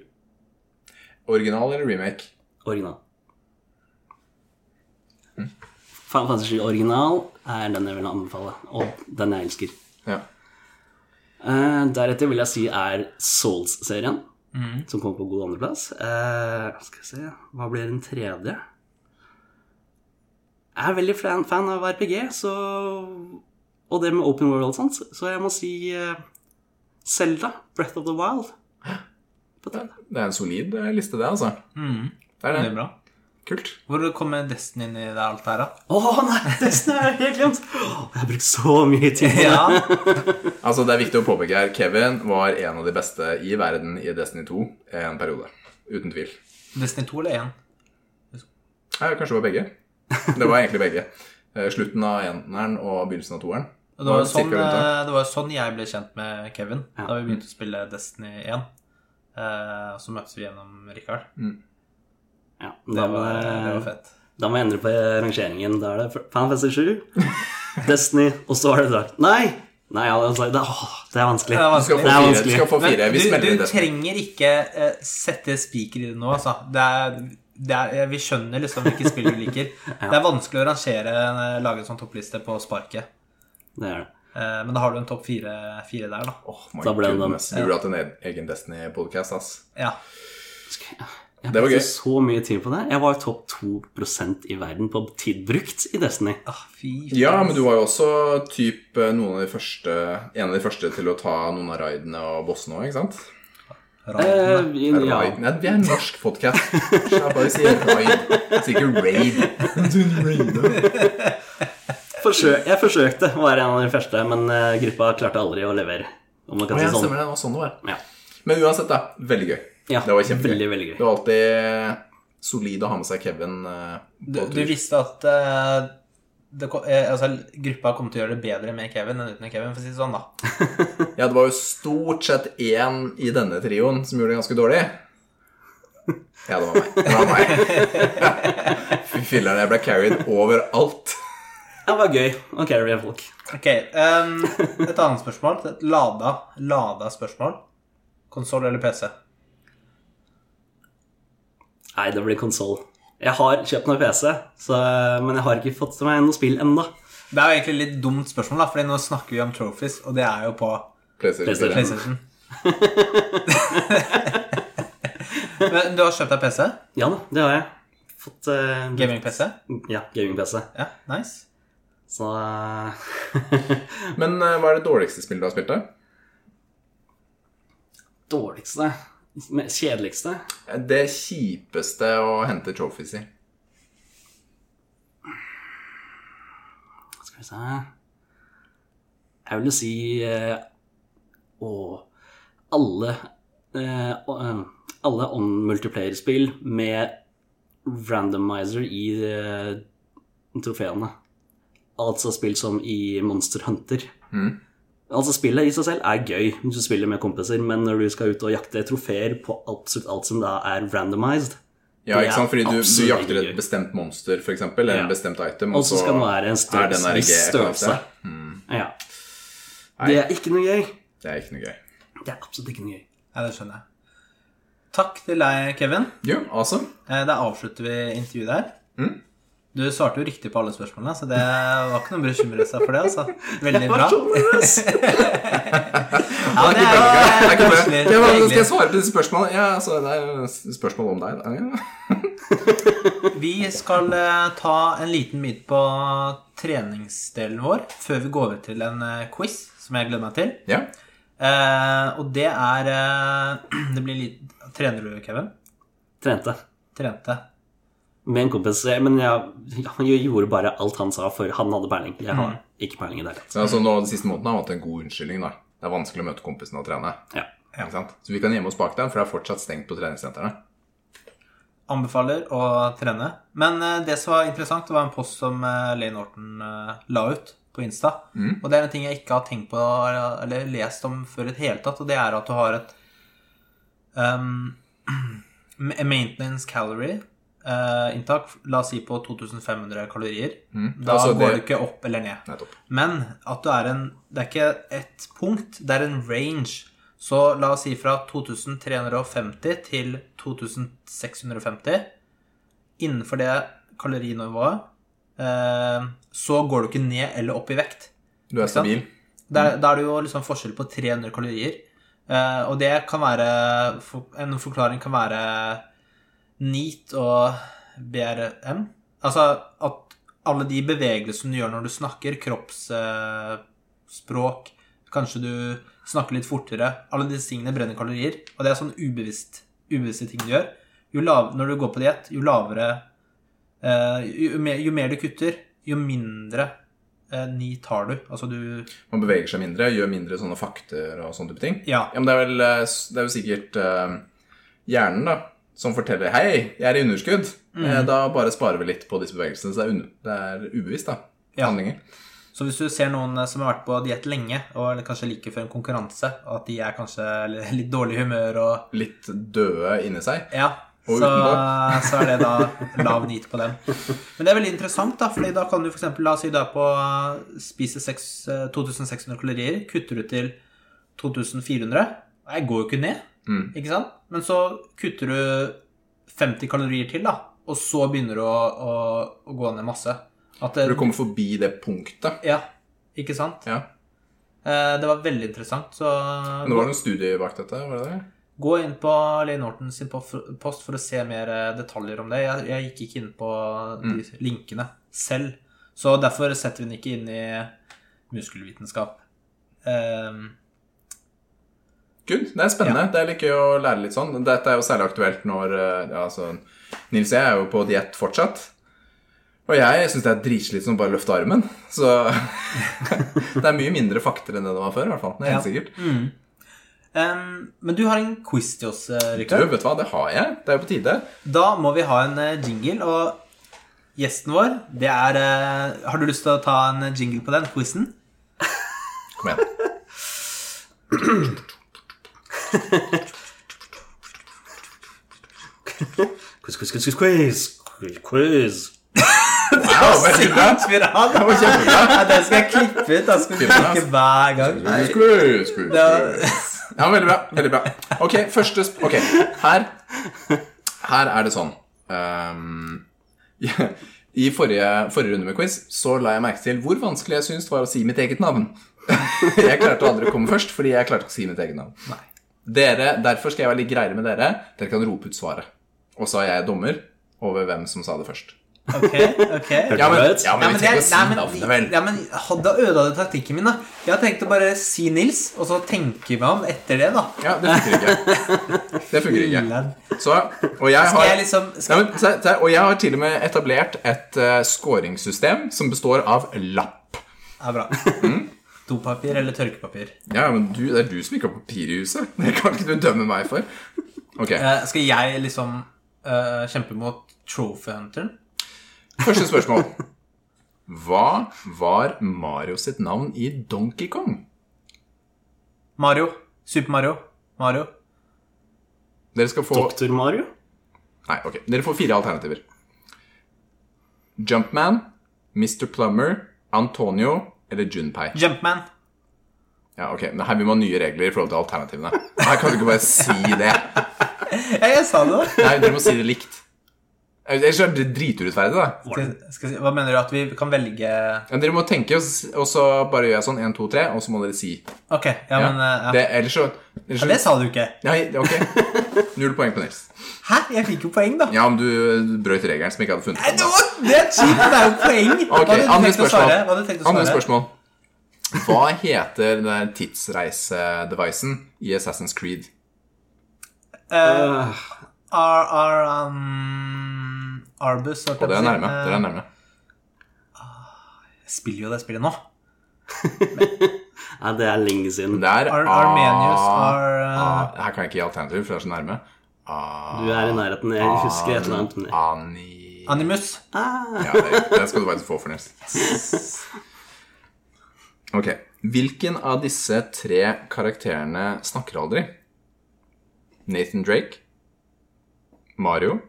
S2: Original eller remake?
S3: Original. Final Fantasy 7 original er den jeg vil anbefale, og den jeg elsker.
S2: Ja.
S3: Eh, deretter vil jeg si er Souls-serien, som kommer på god andreplass. Eh, skal vi se Hva blir den tredje? Jeg er veldig fan, fan av RPG, så Og det med open world og sånt, så jeg må si Selda, Breath of the Wild. På tredje.
S2: Det er en solid eh, liste, det, altså.
S1: Mm.
S2: Det er
S1: Det
S2: det.
S1: er bra.
S2: Kult.
S1: Hvor kommer Destiny inn i det alt her, da?
S3: Å nei, Destiny har jeg helt glemt! Åh, Jeg har brukt så mye tid på det.
S1: Ja,
S2: Altså, det er viktig å påpeke her. Kevin var en av de beste i verden i Destiny 2 en periode. Uten tvil.
S1: Destiny 2 eller 1?
S2: Ja, kanskje det var begge. Det var egentlig begge. Eh, Slutten av eneren og begynnelsen av toeren.
S1: Og Det var, jo
S2: Det var
S1: sånn,
S2: cirka rundt
S1: eh, det var jo sånn jeg ble kjent med Kevin
S3: Ja.
S1: da vi begynte å spille Destiny 1. Eh, og så møttes vi gjennom Richard.
S3: Ja,
S1: Det
S3: da, må
S1: var, det var
S3: jeg,
S1: fett.
S3: da må jeg endre på rangeringen. Da er det Final Fantasy 7, Destiny, og så er det Dark Nei! Nei, altså, det, åh, det er vanskelig.
S1: Det er
S2: Du skal
S1: vanskelig.
S2: få fire. Du
S3: Det er vanskelig.
S2: skal få
S1: Men
S2: fire. Vi
S1: du,
S2: smeller i
S1: du
S2: Destiny.
S1: trenger ikke eh, sette spiker i det nå, altså. Det er, det er, eh, vi skjønner liksom hvilke spill du liker. Det er vanskelig å rangere eh, lage en sånn toppliste på sparket.
S3: Det er det.
S1: Eh, men da har du en topp fire, fire der, da.
S2: Åh, my
S3: Da ble det den.
S2: goodness. Vi burde hatt en e- egen Destiny-podkast, ass.
S1: Ja.
S3: Skal jeg- Jeg
S2: Det var
S3: brukte
S2: gøy.
S3: så mye tid på det. Jeg var topp 2 i verden på tid brukt i Destiny.
S1: Ah, fy
S2: Ja, men du var jo også typ eh, noen av de første, en av de første til å ta noen av raidene og bossene òg, ikke sant?
S3: Eh,
S1: Raidene.
S3: vi-
S2: Er det
S3: ja.
S2: raid? Nei, vi er en norsk podkast. Jeg bare sier raid. Sikkert raid. Du raida.
S3: Forsø jeg forsøkte å være en av de første, men eh, gruppa klarte aldri å levere. Om man kan
S2: Å,
S3: si
S2: ja,
S3: sånn.
S2: stemmer det. Det var sånn det var.
S3: Ja.
S2: Men uansett, da. Veldig gøy.
S3: Ja,
S2: Det var kjempegøy.
S3: Veldig, veldig
S2: Det
S3: gøy.
S2: var alltid solid å ha med seg Kevin eh,
S1: Du,
S2: på
S1: du
S2: tur.
S1: visste at eh, det, ko- eh, altså, gruppa kom til å gjøre det bedre med Kevin enn uten Kevin, for å si det sånn, da.
S2: Ja, det var jo stort sett én i denne trioen som gjorde det ganske dårlig. Ja, det var meg. Det var meg. Fy filler'n, jeg ble carried overalt.
S3: Det var gøy å carry folk.
S1: Ok, ehm, Et annet spørsmål. Et lada, lada spørsmål. Konsoll eller PC?
S3: Nei, det blir konsoll. Jeg har kjøpt meg PC, så, men jeg har ikke fått til meg noe spill ennå.
S1: Det er jo egentlig litt dumt spørsmål, da, Fordi nå snakker vi om trophies, og det er jo på
S2: PlayStation
S3: PlayStation.
S2: 4.
S1: PlayStation. Men du har kjøpt deg PC?
S3: Ja da, det har jeg. Fått eh,
S1: Gaming-PC?
S3: Ja, gaming-PC.
S1: Ja, nice.
S3: Så eh,
S2: Men eh, hva er det dårligste spillet du har spilt, da?
S3: Dårligste men Kjedeligste?
S2: Det kjipeste å hente trophies i.
S3: Hva skal vi se Jeg vil jo si eh, Å Alle eh, å, eh, Alle on-multiplayer-spill med randomizer i eh, trofeene. Altså spill som i Monster Hunter.
S2: Mhm.
S3: Altså Spillet i seg selv er gøy hvis du spiller med kompiser, men når du skal ut og jakte trofeer på absolutt alt som da er randomized,
S2: Ja,
S3: Det
S2: ikke
S3: er
S2: sant? Fordi du, du
S3: absolutt
S2: jakter
S3: ikke
S2: et
S3: gøy.
S2: bestemt monster, f.eks., eller
S3: Ja.
S2: en bestemt item,
S3: og så skal den være
S2: Mm.
S3: en
S2: er den
S3: størrelse.
S2: her
S3: Viss
S2: ikke
S3: størrelse.
S2: ekte. Mm,
S3: Ja.
S2: Nei.
S3: Det er ikke noe gøy.
S2: det er ikke noe gøy.
S3: Det er absolutt ikke noe gøy.
S1: Ja, det skjønner jeg. Takk til deg, Kevin.
S2: Jo, awesome.
S1: Eh, Da avslutter vi intervjuet der.
S2: Mm.
S1: Du svarte jo riktig på alle spørsmålene, så det var ikke noe å bekymre seg for det. altså. Veldig bra. Ja, det er jo
S2: Det er ikke bra.
S1: koselig.
S2: Ja, men
S1: Hyggelig.
S2: skal jeg svare på disse spørsmålene? Ja, altså, det er s- spørsmål om deg. da. Ja.
S1: Vi skal eh, ta en liten bit på treningsdelen vår før vi går over til en eh, quiz som jeg gleder meg til.
S2: Ja.
S1: Eh, og det er eh, Det blir litt Trener du, Kevin?
S3: Trente
S1: Trente.
S3: med en kompis, eh, men jeg, jeg gjorde bare alt han sa, for han hadde peiling. Jeg har ikke peiling i det hele tatt.
S2: Men altså, nå, Den siste måneden har han hatt en god unnskyldning. da. Det er vanskelig å møte kompisene og trene.
S3: Ja.
S2: Ikke sant? Så vi kan gjemme oss bak dem, for det er fortsatt stengt på treningssentrene.
S1: Anbefaler å trene. Men eh, det som var interessant, det var en post som eh, Lane Norton eh, la ut på Insta.
S2: Mm.
S1: Og det er en ting jeg ikke har tenkt på eller lest om før i det hele tatt, og det er at du har et um, maintenance calorie eh, inntak, la oss si på 2500 kalorier. Da
S2: Altså,
S1: går du
S2: det-
S1: ikke opp eller ned.
S2: Nettopp.
S1: Men at du er en Det er ikke et punkt, det er en range. Så la oss si fra 2350 til 2650. Innenfor det kalorinivået eh, så går du ikke ned eller opp i vekt.
S2: Du er
S1: sant?
S2: stabil.
S1: Da da er det jo liksom forskjell på 300 kalorier. Eh, og det kan være for- En forklaring kan være NEAT og BRM. Altså at alle de bevegelsene du gjør når du snakker, kroppsspråk språk, Kanskje du snakker litt fortere. Alle disse tingene brenner kalorier. Og det er sånn ubevisst, ubevisste ting du gjør. Jo lav, når du går på diett, jo lavere eh, jo, mer, jo mer du kutter, jo mindre eh, NEAT har du. Altså du
S2: Man beveger seg mindre, gjør mindre sånne fakter og sånne type ting.
S1: Ja.
S2: men det er, vel, eh, s- det er jo sikkert eh, hjernen da, som forteller Hei, jeg er i underskudd.
S1: Mhm.
S2: Eh, Da bare sparer vi litt på disse bevegelsene. Så det er, un det er ubevisst, da.
S1: Ja.
S2: Handlinger.
S1: Så hvis du ser noen eh, som har vært på diett lenge, og eller kanskje like før en konkurranse, og at de er kanskje li- litt dårlig i humør og
S2: Litt døde inni seg.
S1: Ja.
S2: Og
S1: Så,
S2: utenpå.
S1: så er det da lav nit på dem. Men det er veldig interessant, da, fordi da kan du f.eks. la oss si du er på spiser seks- eh, 2600 kalorier, kutter du til 2400. Nei, går jo ikke ned,
S2: Mm.
S1: ikke sant? Men så kutter du 50 kalorier til, da, og så begynner du å, å, å gå ned masse. At
S2: For
S1: det,
S2: du kommer forbi det punktet.
S1: Ja, ikke sant?
S2: Ja.
S1: Eh, Det var veldig interessant, så
S2: Men det var noen studier bak dette? var det det?
S1: gå inn på Lane Norton sin pof- post for å se mer eh, detaljer om det. Jeg, jeg gikk ikke inn på de linkene selv, så derfor setter vi den ikke inn i muskelvitenskap. Ehm,
S2: Good. Det er spennende. Det er litt gøy å lære litt sånn. Dette er jo særlig aktuelt når eh, ja, altså, Nils jeg er jo på diett fortsatt. Og jeg syns det er dritslitsomt å bare løfte armen. Så det er mye mindre fakter enn det det var før. i hvert fall. Det er helt sikkert.
S1: ehm, men du har en quiz til oss, eh,
S2: Du,
S1: Rikard.
S2: vet du hva, det har jeg. Det er jo på tide.
S1: Da må vi ha en eh, jingle, og gjesten vår, det er eh, Har du lyst til å ta en jingle på den quizen?
S2: Kom igjen.
S3: Quiz, quiz, quiz, quiz, quiz. Quiz, quiz.
S2: Wow, veldig bra.
S1: Spiral!
S2: Det var kjempebra.
S1: Ja, den skal jeg klippe altså. ut. Da skal vi
S2: Klippe,
S1: snakke hver gang.
S2: Skru, skru, skru.
S1: Det
S2: Ja, veldig bra. veldig bra Ok, første sp Ok, her Her er det sånn ehm, I forrige, forrige runde med quiz Så la jeg merke til hvor vanskelig jeg synes det var å si mitt eget navn Jeg klarte aldri å komme først Fordi jeg klarte ikke å si mitt eget navn dere, Derfor skal jeg være litt greiere med dere Dere kan rope ut svaret Og så er jeg dommer over hvem som sa det først
S1: Ok, ok.
S2: Ja, men,
S3: Right.
S2: ja, men vi
S1: det-
S2: trenger ikke å si
S1: nei, men-
S2: navnet vel
S1: Ja, men hadde øda det taktikken min, da. Jeg har tenkt å bare si Nils, og så tenke meg om etter det, da.
S2: Ja, det funker ikke Det funker ikke
S1: Lad.
S2: Så, og jeg
S1: Skal
S2: har
S1: jeg liksom
S2: Nei,
S1: skal,
S2: men, se, se, og jeg har til og med etablert et eh, scoringssystem som består av lapp.
S1: Ja, bra. Mm. Dopapir eller tørkepapir?
S2: Ja, men du, Det er du som ikke har papir i huset. Det kan ikke du dømme meg for. Ok,
S1: Eh, skal jeg liksom eh, kjempe mot Trophy Hunteren?
S2: Første spørsmål. Hva var Mario sitt navn i Donkey Kong?
S1: Mario. Super Mario. Mario.
S2: Dere skal få
S3: Doktor Mario?
S2: Nei, ok. Dere får fire alternativer. Jumpman, Mr. Plummer, Antonio eller Junpei.
S1: Jumpman.
S2: Ja, ok, men Her vil man ha nye regler i forhold til alternativene. Her kan du ikke bare si det.
S1: Ja, jeg sa det, da.
S2: Nei, dere må si det likt. Ellers er det driturettferdig, da.
S1: Skal, skal, jeg si- hva mener du? At vi kan velge
S2: Men dere må tenke, og s- og så bare gjør jeg sånn 1, 2, 3, og så må dere si.
S1: Ok, ja,
S2: Ja.
S1: men eh, ja.
S2: Det, ellers så, ellers
S1: Ja,
S2: så
S1: det sa du ikke.
S2: Nei, ok. Null poeng på Nils.
S1: Hæ? Jeg fikk jo poeng, da.
S2: Ja, men du, eh, du brøt regelen som jeg ikke hadde funnet
S1: Nei, Det,
S2: på.
S1: var, det er cheap, det er jo poeng. Hva
S2: Ok,
S1: hadde du
S2: andre
S1: tenkt å
S2: spørsmål.
S1: svare? Hva hadde du tenkt å
S2: Andre
S1: svare?
S2: spørsmål. Hva heter den der tidsreisedevicen i Assassin's Creed?
S1: Eh,
S3: Øh,
S1: Ar, ar, um, Arbus
S2: Og dere er nærme. Dere er nærme.
S1: Jeg spiller jo det spillet nå.
S2: Ah.
S3: Nei, det er lenge siden.
S2: Det er
S1: Ar,
S2: A-
S1: Armenius, uh, ar,
S2: A- Her kan jeg ikke gi alternativer, for det er så nærme. Ah,
S3: Du er i nærheten. Jeg husker et eller annet. men-
S2: Ani...
S1: Animus.
S3: Ah,
S2: Ja, det, det skal du faktisk få for Nils. Ok. Hvilken av disse tre karakterene snakker aldri? Nathan Drake, Mario,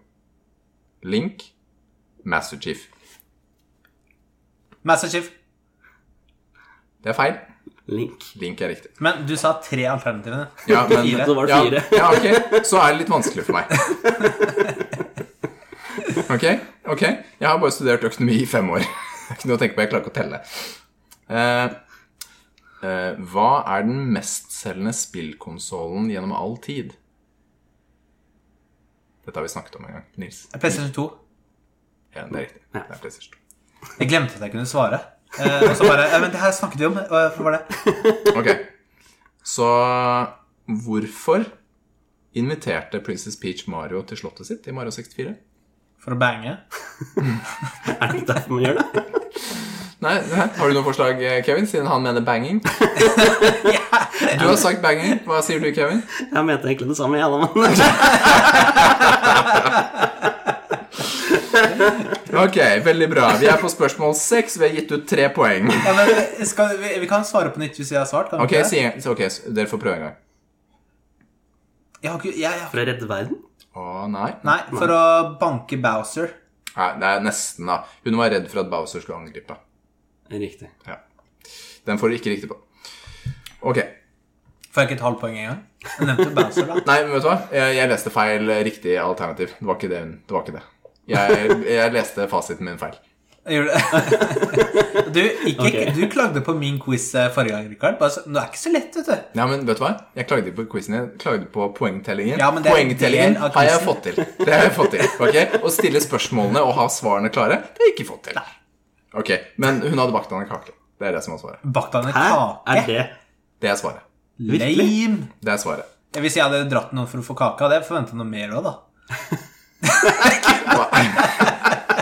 S2: Link, Master Chief.
S1: Master Chief.
S2: Det er feil.
S3: Link.
S2: Link er riktig.
S1: Men du sa tre alternativene.
S2: Ja, men,
S1: Fire.
S3: Så var det
S2: ja,
S3: fire.
S2: ja, ok. Så er det litt vanskelig for meg. Ok, ok. Jeg har bare studert økonomi i fem år. Det er ikke noe å tenke på, jeg klarer ikke å telle. Eh, eh, hva er den mestselgende spillkonsollen gjennom all tid? Dette har vi snakket om en gang, Nils.
S1: PlayStation 2.
S2: Ja, det er riktig. Det er PlayStation 2.
S1: Jeg glemte at jeg kunne svare. Eh, og så bare eh, Men det her snakket vi om. eh, Hva var det?
S2: Ok. Så hvorfor inviterte Princess Peach Mario til slottet sitt i Mario 64?
S1: For å bange?
S3: Er det derfor man gjør det?
S2: Nei, nei, Har du noe forslag, eh, Kevin, siden han mener banging? Du har sagt banging. Hva sier du, Kevin?
S3: Jeg mente egentlig det samme, jeg, da. men-
S2: Ok, Veldig bra. Vi er på spørsmål seks. Vi har gitt ut tre poeng.
S1: Ja, men eh, skal, vi, vi kan svare på nytt hvis vi har svart. Kan vi
S2: Ok,
S1: ikke det?
S2: sier, ok, s- Dere får prøve en gang.
S1: jeg har ikke, jeg, jeg,
S3: For å redde verden?
S2: Å, nei.
S1: Nei, for å banke Bowser.
S2: nei. Det er nesten, da. Hun var redd for at Bowser skulle angripe.
S3: Riktig.
S2: Ja. Den får du ikke riktig på. Ok.
S1: Får jeg ikke et halvt poeng engang? Jeg nevnte Bowser, da.
S2: Nei, men vet du hva? Jeg, jeg leste feil eh, riktig alternativ. Det var ikke det. hun- Det, var ikke det. Jeg, jeg leste fasiten min feil.
S1: Jeg gjorde det. Du, ikke,
S3: Ok.
S1: du klagde på min quiz eh, forrige gang, Rikard. Bare så- Det er ikke så lett, vet du.
S2: Ja, men vet du hva? Jeg klagde ikke på quizen, jeg klagde på poengtellingen.
S1: Ja, men det er en
S2: poengtellingen
S1: del av
S2: har jeg
S1: quizen.
S2: fått til. Det har jeg fått til, ok? Å stille spørsmålene og ha svarene klare, det har jeg ikke fått til. Ok, Men hun hadde bakt han en kake. Det er det som er svaret.
S1: Bakte han en
S3: Hæ? Er
S1: kake?
S3: det
S2: Det er svaret.
S3: virkelig?
S1: Lame!
S2: Det er svaret.
S1: Hvis jeg hadde dratt noen for å få kake, hadde jeg forventa noe mer òg, da.
S2: Hva,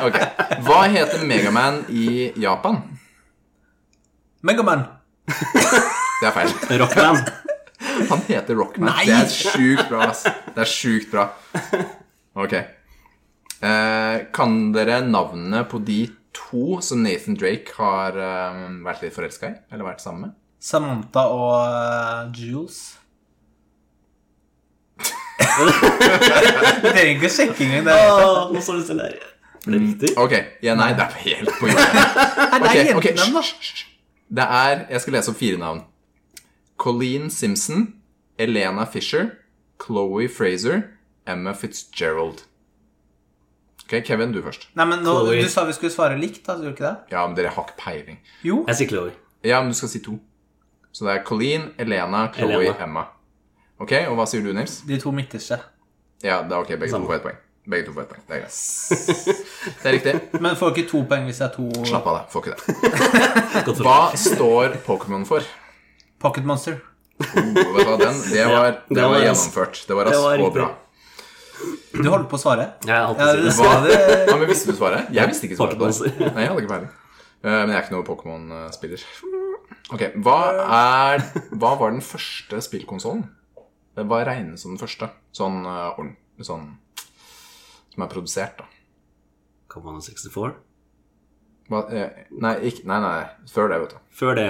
S2: ok. hva heter Megaman i Japan?
S1: Megaman.
S2: Det er feil.
S3: Rockman.
S2: Han heter Rockman.
S1: Nei!
S2: Det er sjukt bra, ass. Det er sjukt bra. Ok. Eh, kan dere navnene på de to som Nathan Drake har eh, vært litt forelska i? Eller vært sammen med?
S1: Samantha og eh, Jules. Du trenger ikke å sjekke engang. Det.
S3: Åh, Nå står det stille her. Ble det riktig?
S2: Ok. Ja, nei, det er helt på jordet.
S1: Nei, det er
S2: Ok, ok,
S1: jentenavn, da.
S2: hysj, hysj, hysj. Det er Jeg skal lese opp fire navn. Colleen Simpson, Elena Fisher, Chloé Fraser, Emma Fitzgerald. Ok, Kevin, du først.
S1: Nei, men nå,
S3: Chloe.
S1: Du sa vi skulle svare likt, da. Gjorde du ikke det?
S2: Ja, men dere har ikke peiling.
S1: Jo.
S3: Jeg sier Chloé.
S2: Ja, men du skal si to. Så det er Colleen, Elena, Chloé,
S3: Elena.
S2: Emma. Ok, og hva sier du, Nils?
S1: De to midterste.
S2: Ja, det er ok, begge
S3: Samme.
S2: to får ett poeng. Begge to får ett poeng, Det er greit. Det er riktig.
S1: Men får ikke to poeng hvis det er to
S2: Slapp av deg, får ikke det.
S3: Godt
S2: Hva
S3: for
S2: står Pokémon for?
S1: Pocket Monster.
S2: Oh, vet du hva, den, det var,
S3: det
S2: det
S3: var
S2: var
S3: raskt.
S2: gjennomført. Det var raskt
S3: var
S2: og bra.
S3: riktig.
S1: Du holdt på å svare.
S3: Jeg holdt på å
S1: Ja,
S3: si
S1: du
S3: det.
S1: sa det.
S2: Ja, men Visste du svaret? Jeg visste ikke svaret. på det.
S3: Pokémon-spiller.
S2: Nei, jeg hadde ikke peiling. Eh, Men jeg er ikke noen Pokémon-spiller. Ok, hva, er, hva var den første spillkonsollen? Hva regnes som den første? Sånn eh, ordentlig sånn, Som er produsert, da.
S3: Command 64.
S2: Hva, eh, nei, ikke, nei, nei, før det, vet du.
S3: Før det.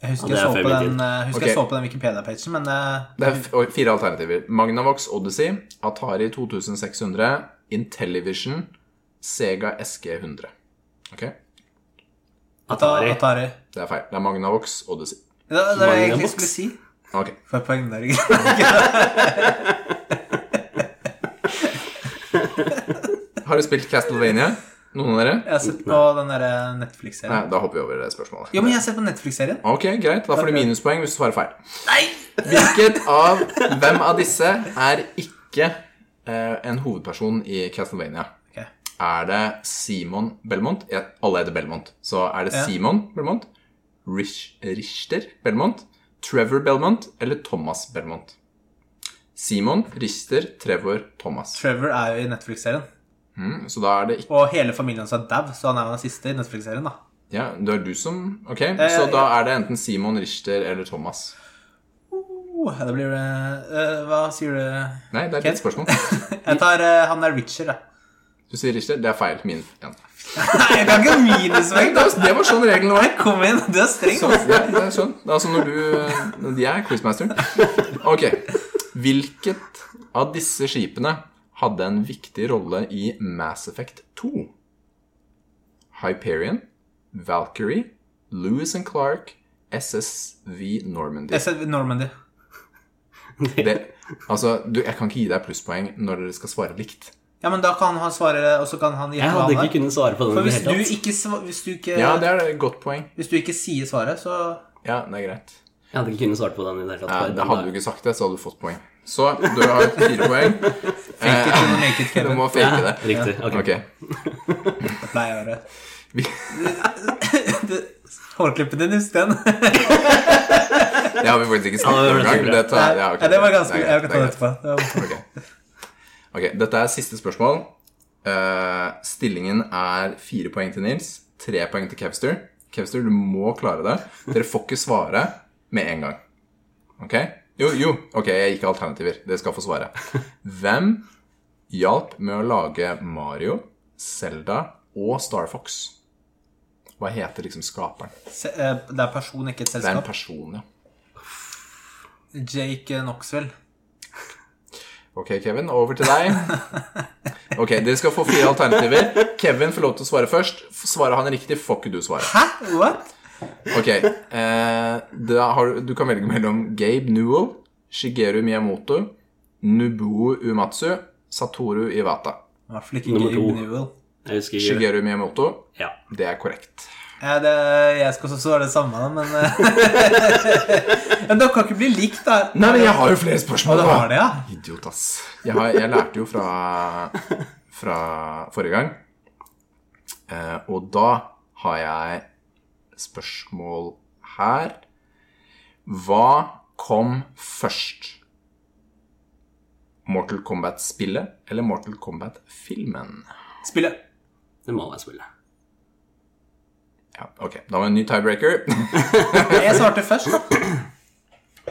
S1: Jeg husker,
S3: Ja, det er
S1: jeg, så
S3: før
S1: på
S3: min
S1: den,
S3: tid.
S1: eh, husker
S2: Ok.
S1: jeg så på den Wikipedia-pagen, men eh,
S2: Det er f- og fire alternativer. Magnavox Odyssey, Atari 2600, Intellivision, Sega SG100. Ok,
S1: Atari.
S3: Atari.
S1: Atari.
S2: det er feil. Det er Magnavox Odyssey.
S1: Det, det var det jeg egentlig
S3: Magnavox.
S1: skulle si.
S2: Ok,
S1: For poeng der, ikke
S2: Har du spilt Castlevania? Noen av dere?
S1: Jeg har sett på den der eh,
S2: Nei,
S1: Netflix-serien.
S2: da hopper vi over det spørsmålet.
S1: Jo, men jeg har sett på Netflix-serien.
S2: Ok, greit. Da får du minuspoeng hvis du svarer feil. Hvilket av Hvem av disse er ikke eh, en hovedperson i Castlevania?
S1: Ok.
S2: Er det Simon Belmont? Ja, alle heter Belmont. Så er det
S1: Ja.
S2: Simon Belmont, Rich, Richter Belmont, Trevor Belmont eller Thomas Belmont? Simon, Richter, Trevor, Thomas.
S1: Trevor er jo i Netflix-serien.
S2: Mm, så da er det ikke
S1: Og hele familien hans er dau, så han er jo den siste i Netflix-serien, da.
S2: Ja, det er du som Ok, så da er det enten Simon, Richter eller Thomas.
S1: Oh, Oh, det blir det eh, Hva sier du?
S2: Nei, det er ditt spørsmål.
S1: Jeg tar eh, han der Richard, jeg.
S2: Du sier Richter. Det er feil. Min. igjen.
S1: Nei, jeg kan ikke
S2: Nei,
S1: minuspoeng!
S2: Det er- det var sånn reglene var.
S1: Kom igjen, du er streng.
S2: Sånn, ja, det er sånn. Det er altså når du når De er quizmasteren. Ok. Hvilket av disse skipene hadde en viktig rolle i Mass Effect 2? Hyperion, Valkyrie, Lewis and Clark, SSV Normandy.
S1: Jeg ser Normandy.
S2: Det, altså, du, jeg kan ikke gi deg plusspoeng når dere skal svare likt.
S1: Ja, men da kan han svare, og så kan han
S3: Jeg
S1: gjette hva
S3: hadde
S1: han
S3: ikke
S1: er.
S3: kunnet svare på den
S1: For
S3: i det
S1: hvis du
S3: hele tatt.
S1: ikke, sva- hvis du ikke,
S2: Ja, det er et godt poeng.
S1: hvis du ikke sier svaret, så
S2: Ja, det er greit.
S3: Jeg hadde ikke kunnet svare på den i det hele tatt.
S2: Ja,
S3: på
S2: det
S3: den
S2: hadde
S3: dagen.
S2: du ikke sagt det, så hadde du fått poeng. Så du har fire poeng.
S1: Fake it till you make it,
S2: Du
S1: Kevin.
S2: må fake Eh, det.
S3: Ja, Riktig. Ok.
S2: Ok.
S1: Det pleier jeg å gjøre.
S2: Vi-
S1: Du- Hårklippen din, husk den.
S2: Det har vi faktisk ikke snakket
S3: Ja, det
S2: om
S3: var
S2: engang.
S3: det
S2: men det tar- ja, ok.
S1: Ja, det var ganske
S2: Det er
S1: Jeg kan ta det
S2: greit,
S1: etterpå. Det var-
S2: det er greit. Ok, Ok, Dette er siste spørsmål. Eh, stillingen er fire poeng til Nils, tre poeng til Kevster. Kevster, du må klare det. Dere får ikke svare med en gang. Ok? Jo, jo. Ok, jeg gikk alternativer. Dere skal få svare. Hvem hjalp med å lage Mario, Zelda og Star Fox? Hva heter liksom skaperen?
S1: Se- eh, Det er person, ikke et
S2: Det er en
S1: selskap.
S2: person, ja.
S1: Jake Knoxville.
S2: Ok, Kevin, over til deg. Ok, Dere skal få fire alternativer. Kevin får lov til å svare først. Svarer han riktig, får ikke du svare.
S1: Hæ? What?
S2: Ok, eh, da har, Du kan velge mellom Gabe Newell, Shigeru Miyamoto, Nubuo Umatsu, Satoru Iwata.
S1: I hvert fall ikke
S3: Nummer to.
S1: Gabe Newell.
S3: Jeg husker ikke.
S2: Shigeru Miyamoto,
S3: Ja.
S2: det er korrekt.
S1: Ja, det, jeg skal også svare det samme, da, men eh, Men dere kan ikke bli likt, da.
S2: Nei, men jeg har jo flere
S1: Å,
S2: spørsmål.
S1: du har det, ja?
S2: Idiot, ass. Jeg, har, jeg lærte jo fra, fra forrige gang. Eh, og da har jeg spørsmål her. Hva kom først? Mortal Kombat-spillet eller Mortal Kombat-filmen?
S1: Spille.
S3: Det må være spillet.
S2: Ja, ok, da var det en ny tiebreaker.
S1: Jeg svarte først, da.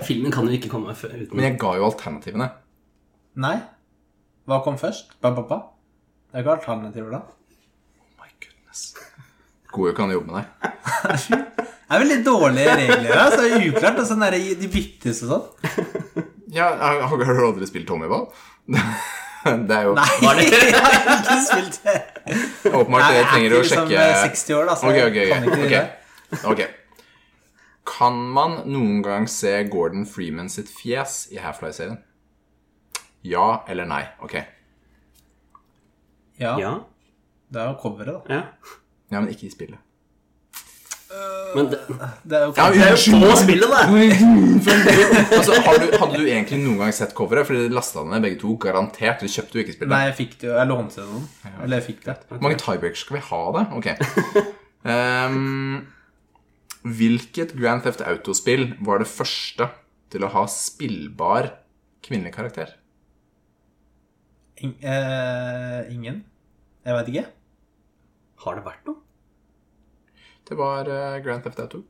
S3: Filmen kan jo ikke komme før uten
S2: Men jeg ga jo alternativene.
S1: Nei. Hva kom først? Ba, ba, ba. Det er ikke alternativer, da.
S2: My goodness. God uke, han jobber med deg.
S1: Det er veldig dårlige regler her. Så det er uklart. Og sånn der, de byttes og sånn.
S2: Ja, har har du aldri spilt Tommyball? Det er jo
S1: Nei, jeg har ikke spilt det.
S2: åpenbart
S1: Jeg
S2: det
S1: er
S2: trenger
S1: ikke
S2: å
S1: liksom
S2: sjekke
S1: 60 år, da, så
S2: Ok,
S1: jeg
S2: ok,
S1: kan ikke
S2: ok.
S1: det.
S2: ok. Ok. Kan man noen gang se Gordon Freeman sitt fjes i Half-Life-serien? Ja eller nei? Ok.
S1: Ja,
S3: Ja.
S1: det er jo coveret,
S3: ja.
S2: Ja, men ikke i spillet.
S3: Men det,
S1: da. Det er jo
S2: Ja, jeg
S3: på spillet, da!
S2: altså, har du, hadde du egentlig noen gang sett coveret? For dere lasta det ned begge to. Garantert. Dere kjøpte jo ikke spillet.
S1: Nei, jeg fikk det jo. Jeg lånte det av noen. Eller jeg fikk det.
S2: Hvor mange tiebreakers skal vi ha, da? Ok. Ehm, hvilket Grand Theft Auto-spill var det første til å ha spillbar kvinnelig karakter?
S1: In eh, ingen? Jeg veit ikke.
S3: Har det vært noe?
S2: Det var eh, Grand Theft Auto.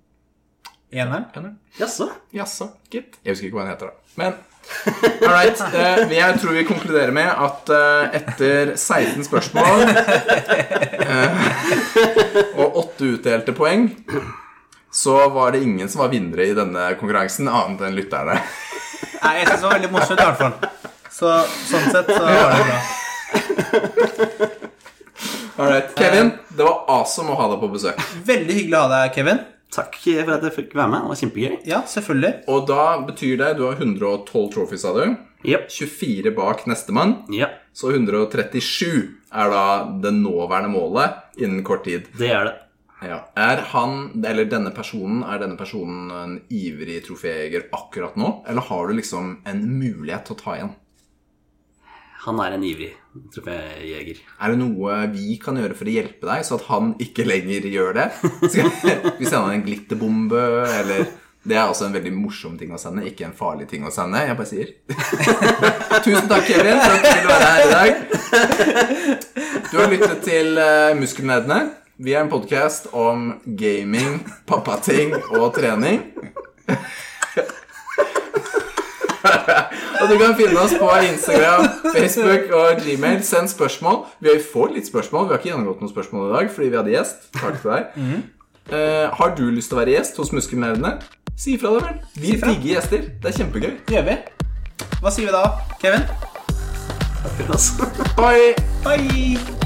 S1: Eneren?
S2: Eller?
S3: Jaså?
S2: Jaså, gitt. Jeg husker ikke hva den heter, da. Men all right. eh, jeg tror vi konkluderer med at eh, etter 16 spørsmål eh, og åtte utdelte poeng, så var det ingen som var vinnere i denne konkurransen, annet enn lytterne.
S1: Nei, jeg syns det var veldig morsomt i hvert fall. Så sånn sett så var det bra.
S2: All right. Kevin, det var awesome å ha deg på besøk.
S1: Veldig hyggelig å ha deg, Kevin.
S3: Takk for at jeg fikk være med. Det var kjempegøy.
S1: Ja, selvfølgelig.
S2: Og da betyr det du har 112 trophies, sa du.
S3: Jepp.
S2: 24 bak nestemann.
S3: Ja,
S2: Så 137 er da det nåværende målet innen kort tid.
S3: det er det.
S2: Ja. Er han, eller denne personen, er denne personen en ivrig troféjeger akkurat nå? Eller har du liksom en mulighet til å ta igjen?
S3: Han er en ivrig troféjeger.
S2: Er det noe vi kan gjøre for å hjelpe deg, så at han ikke lenger gjør det? Skal vi sende han en glitterbombe, eller Det er også en veldig morsom ting å sende, ikke en farlig ting å sende. Jeg bare sier. Tusen takk, Kevin, for at du ville være her i dag. Du har lyttet til eh, Muskelnerdene. Vi er en podkast om gaming, pappating og trening. Og du kan finne oss på Instagram, Facebook og Gmail. Send spørsmål. Vi får litt spørsmål. Vi har ikke gjennomgått noen spørsmål i dag fordi vi hadde gjest. Takk til deg. Eh, har du lyst til å være gjest hos Muskelnerdene? Si ifra, da vel. Vi
S1: fra.
S2: digger gjester. Det er kjempegøy.
S1: Det gjør vi. Hva sier vi da, Kevin?
S3: Akkurat, altså.
S2: Bye!
S1: Bye!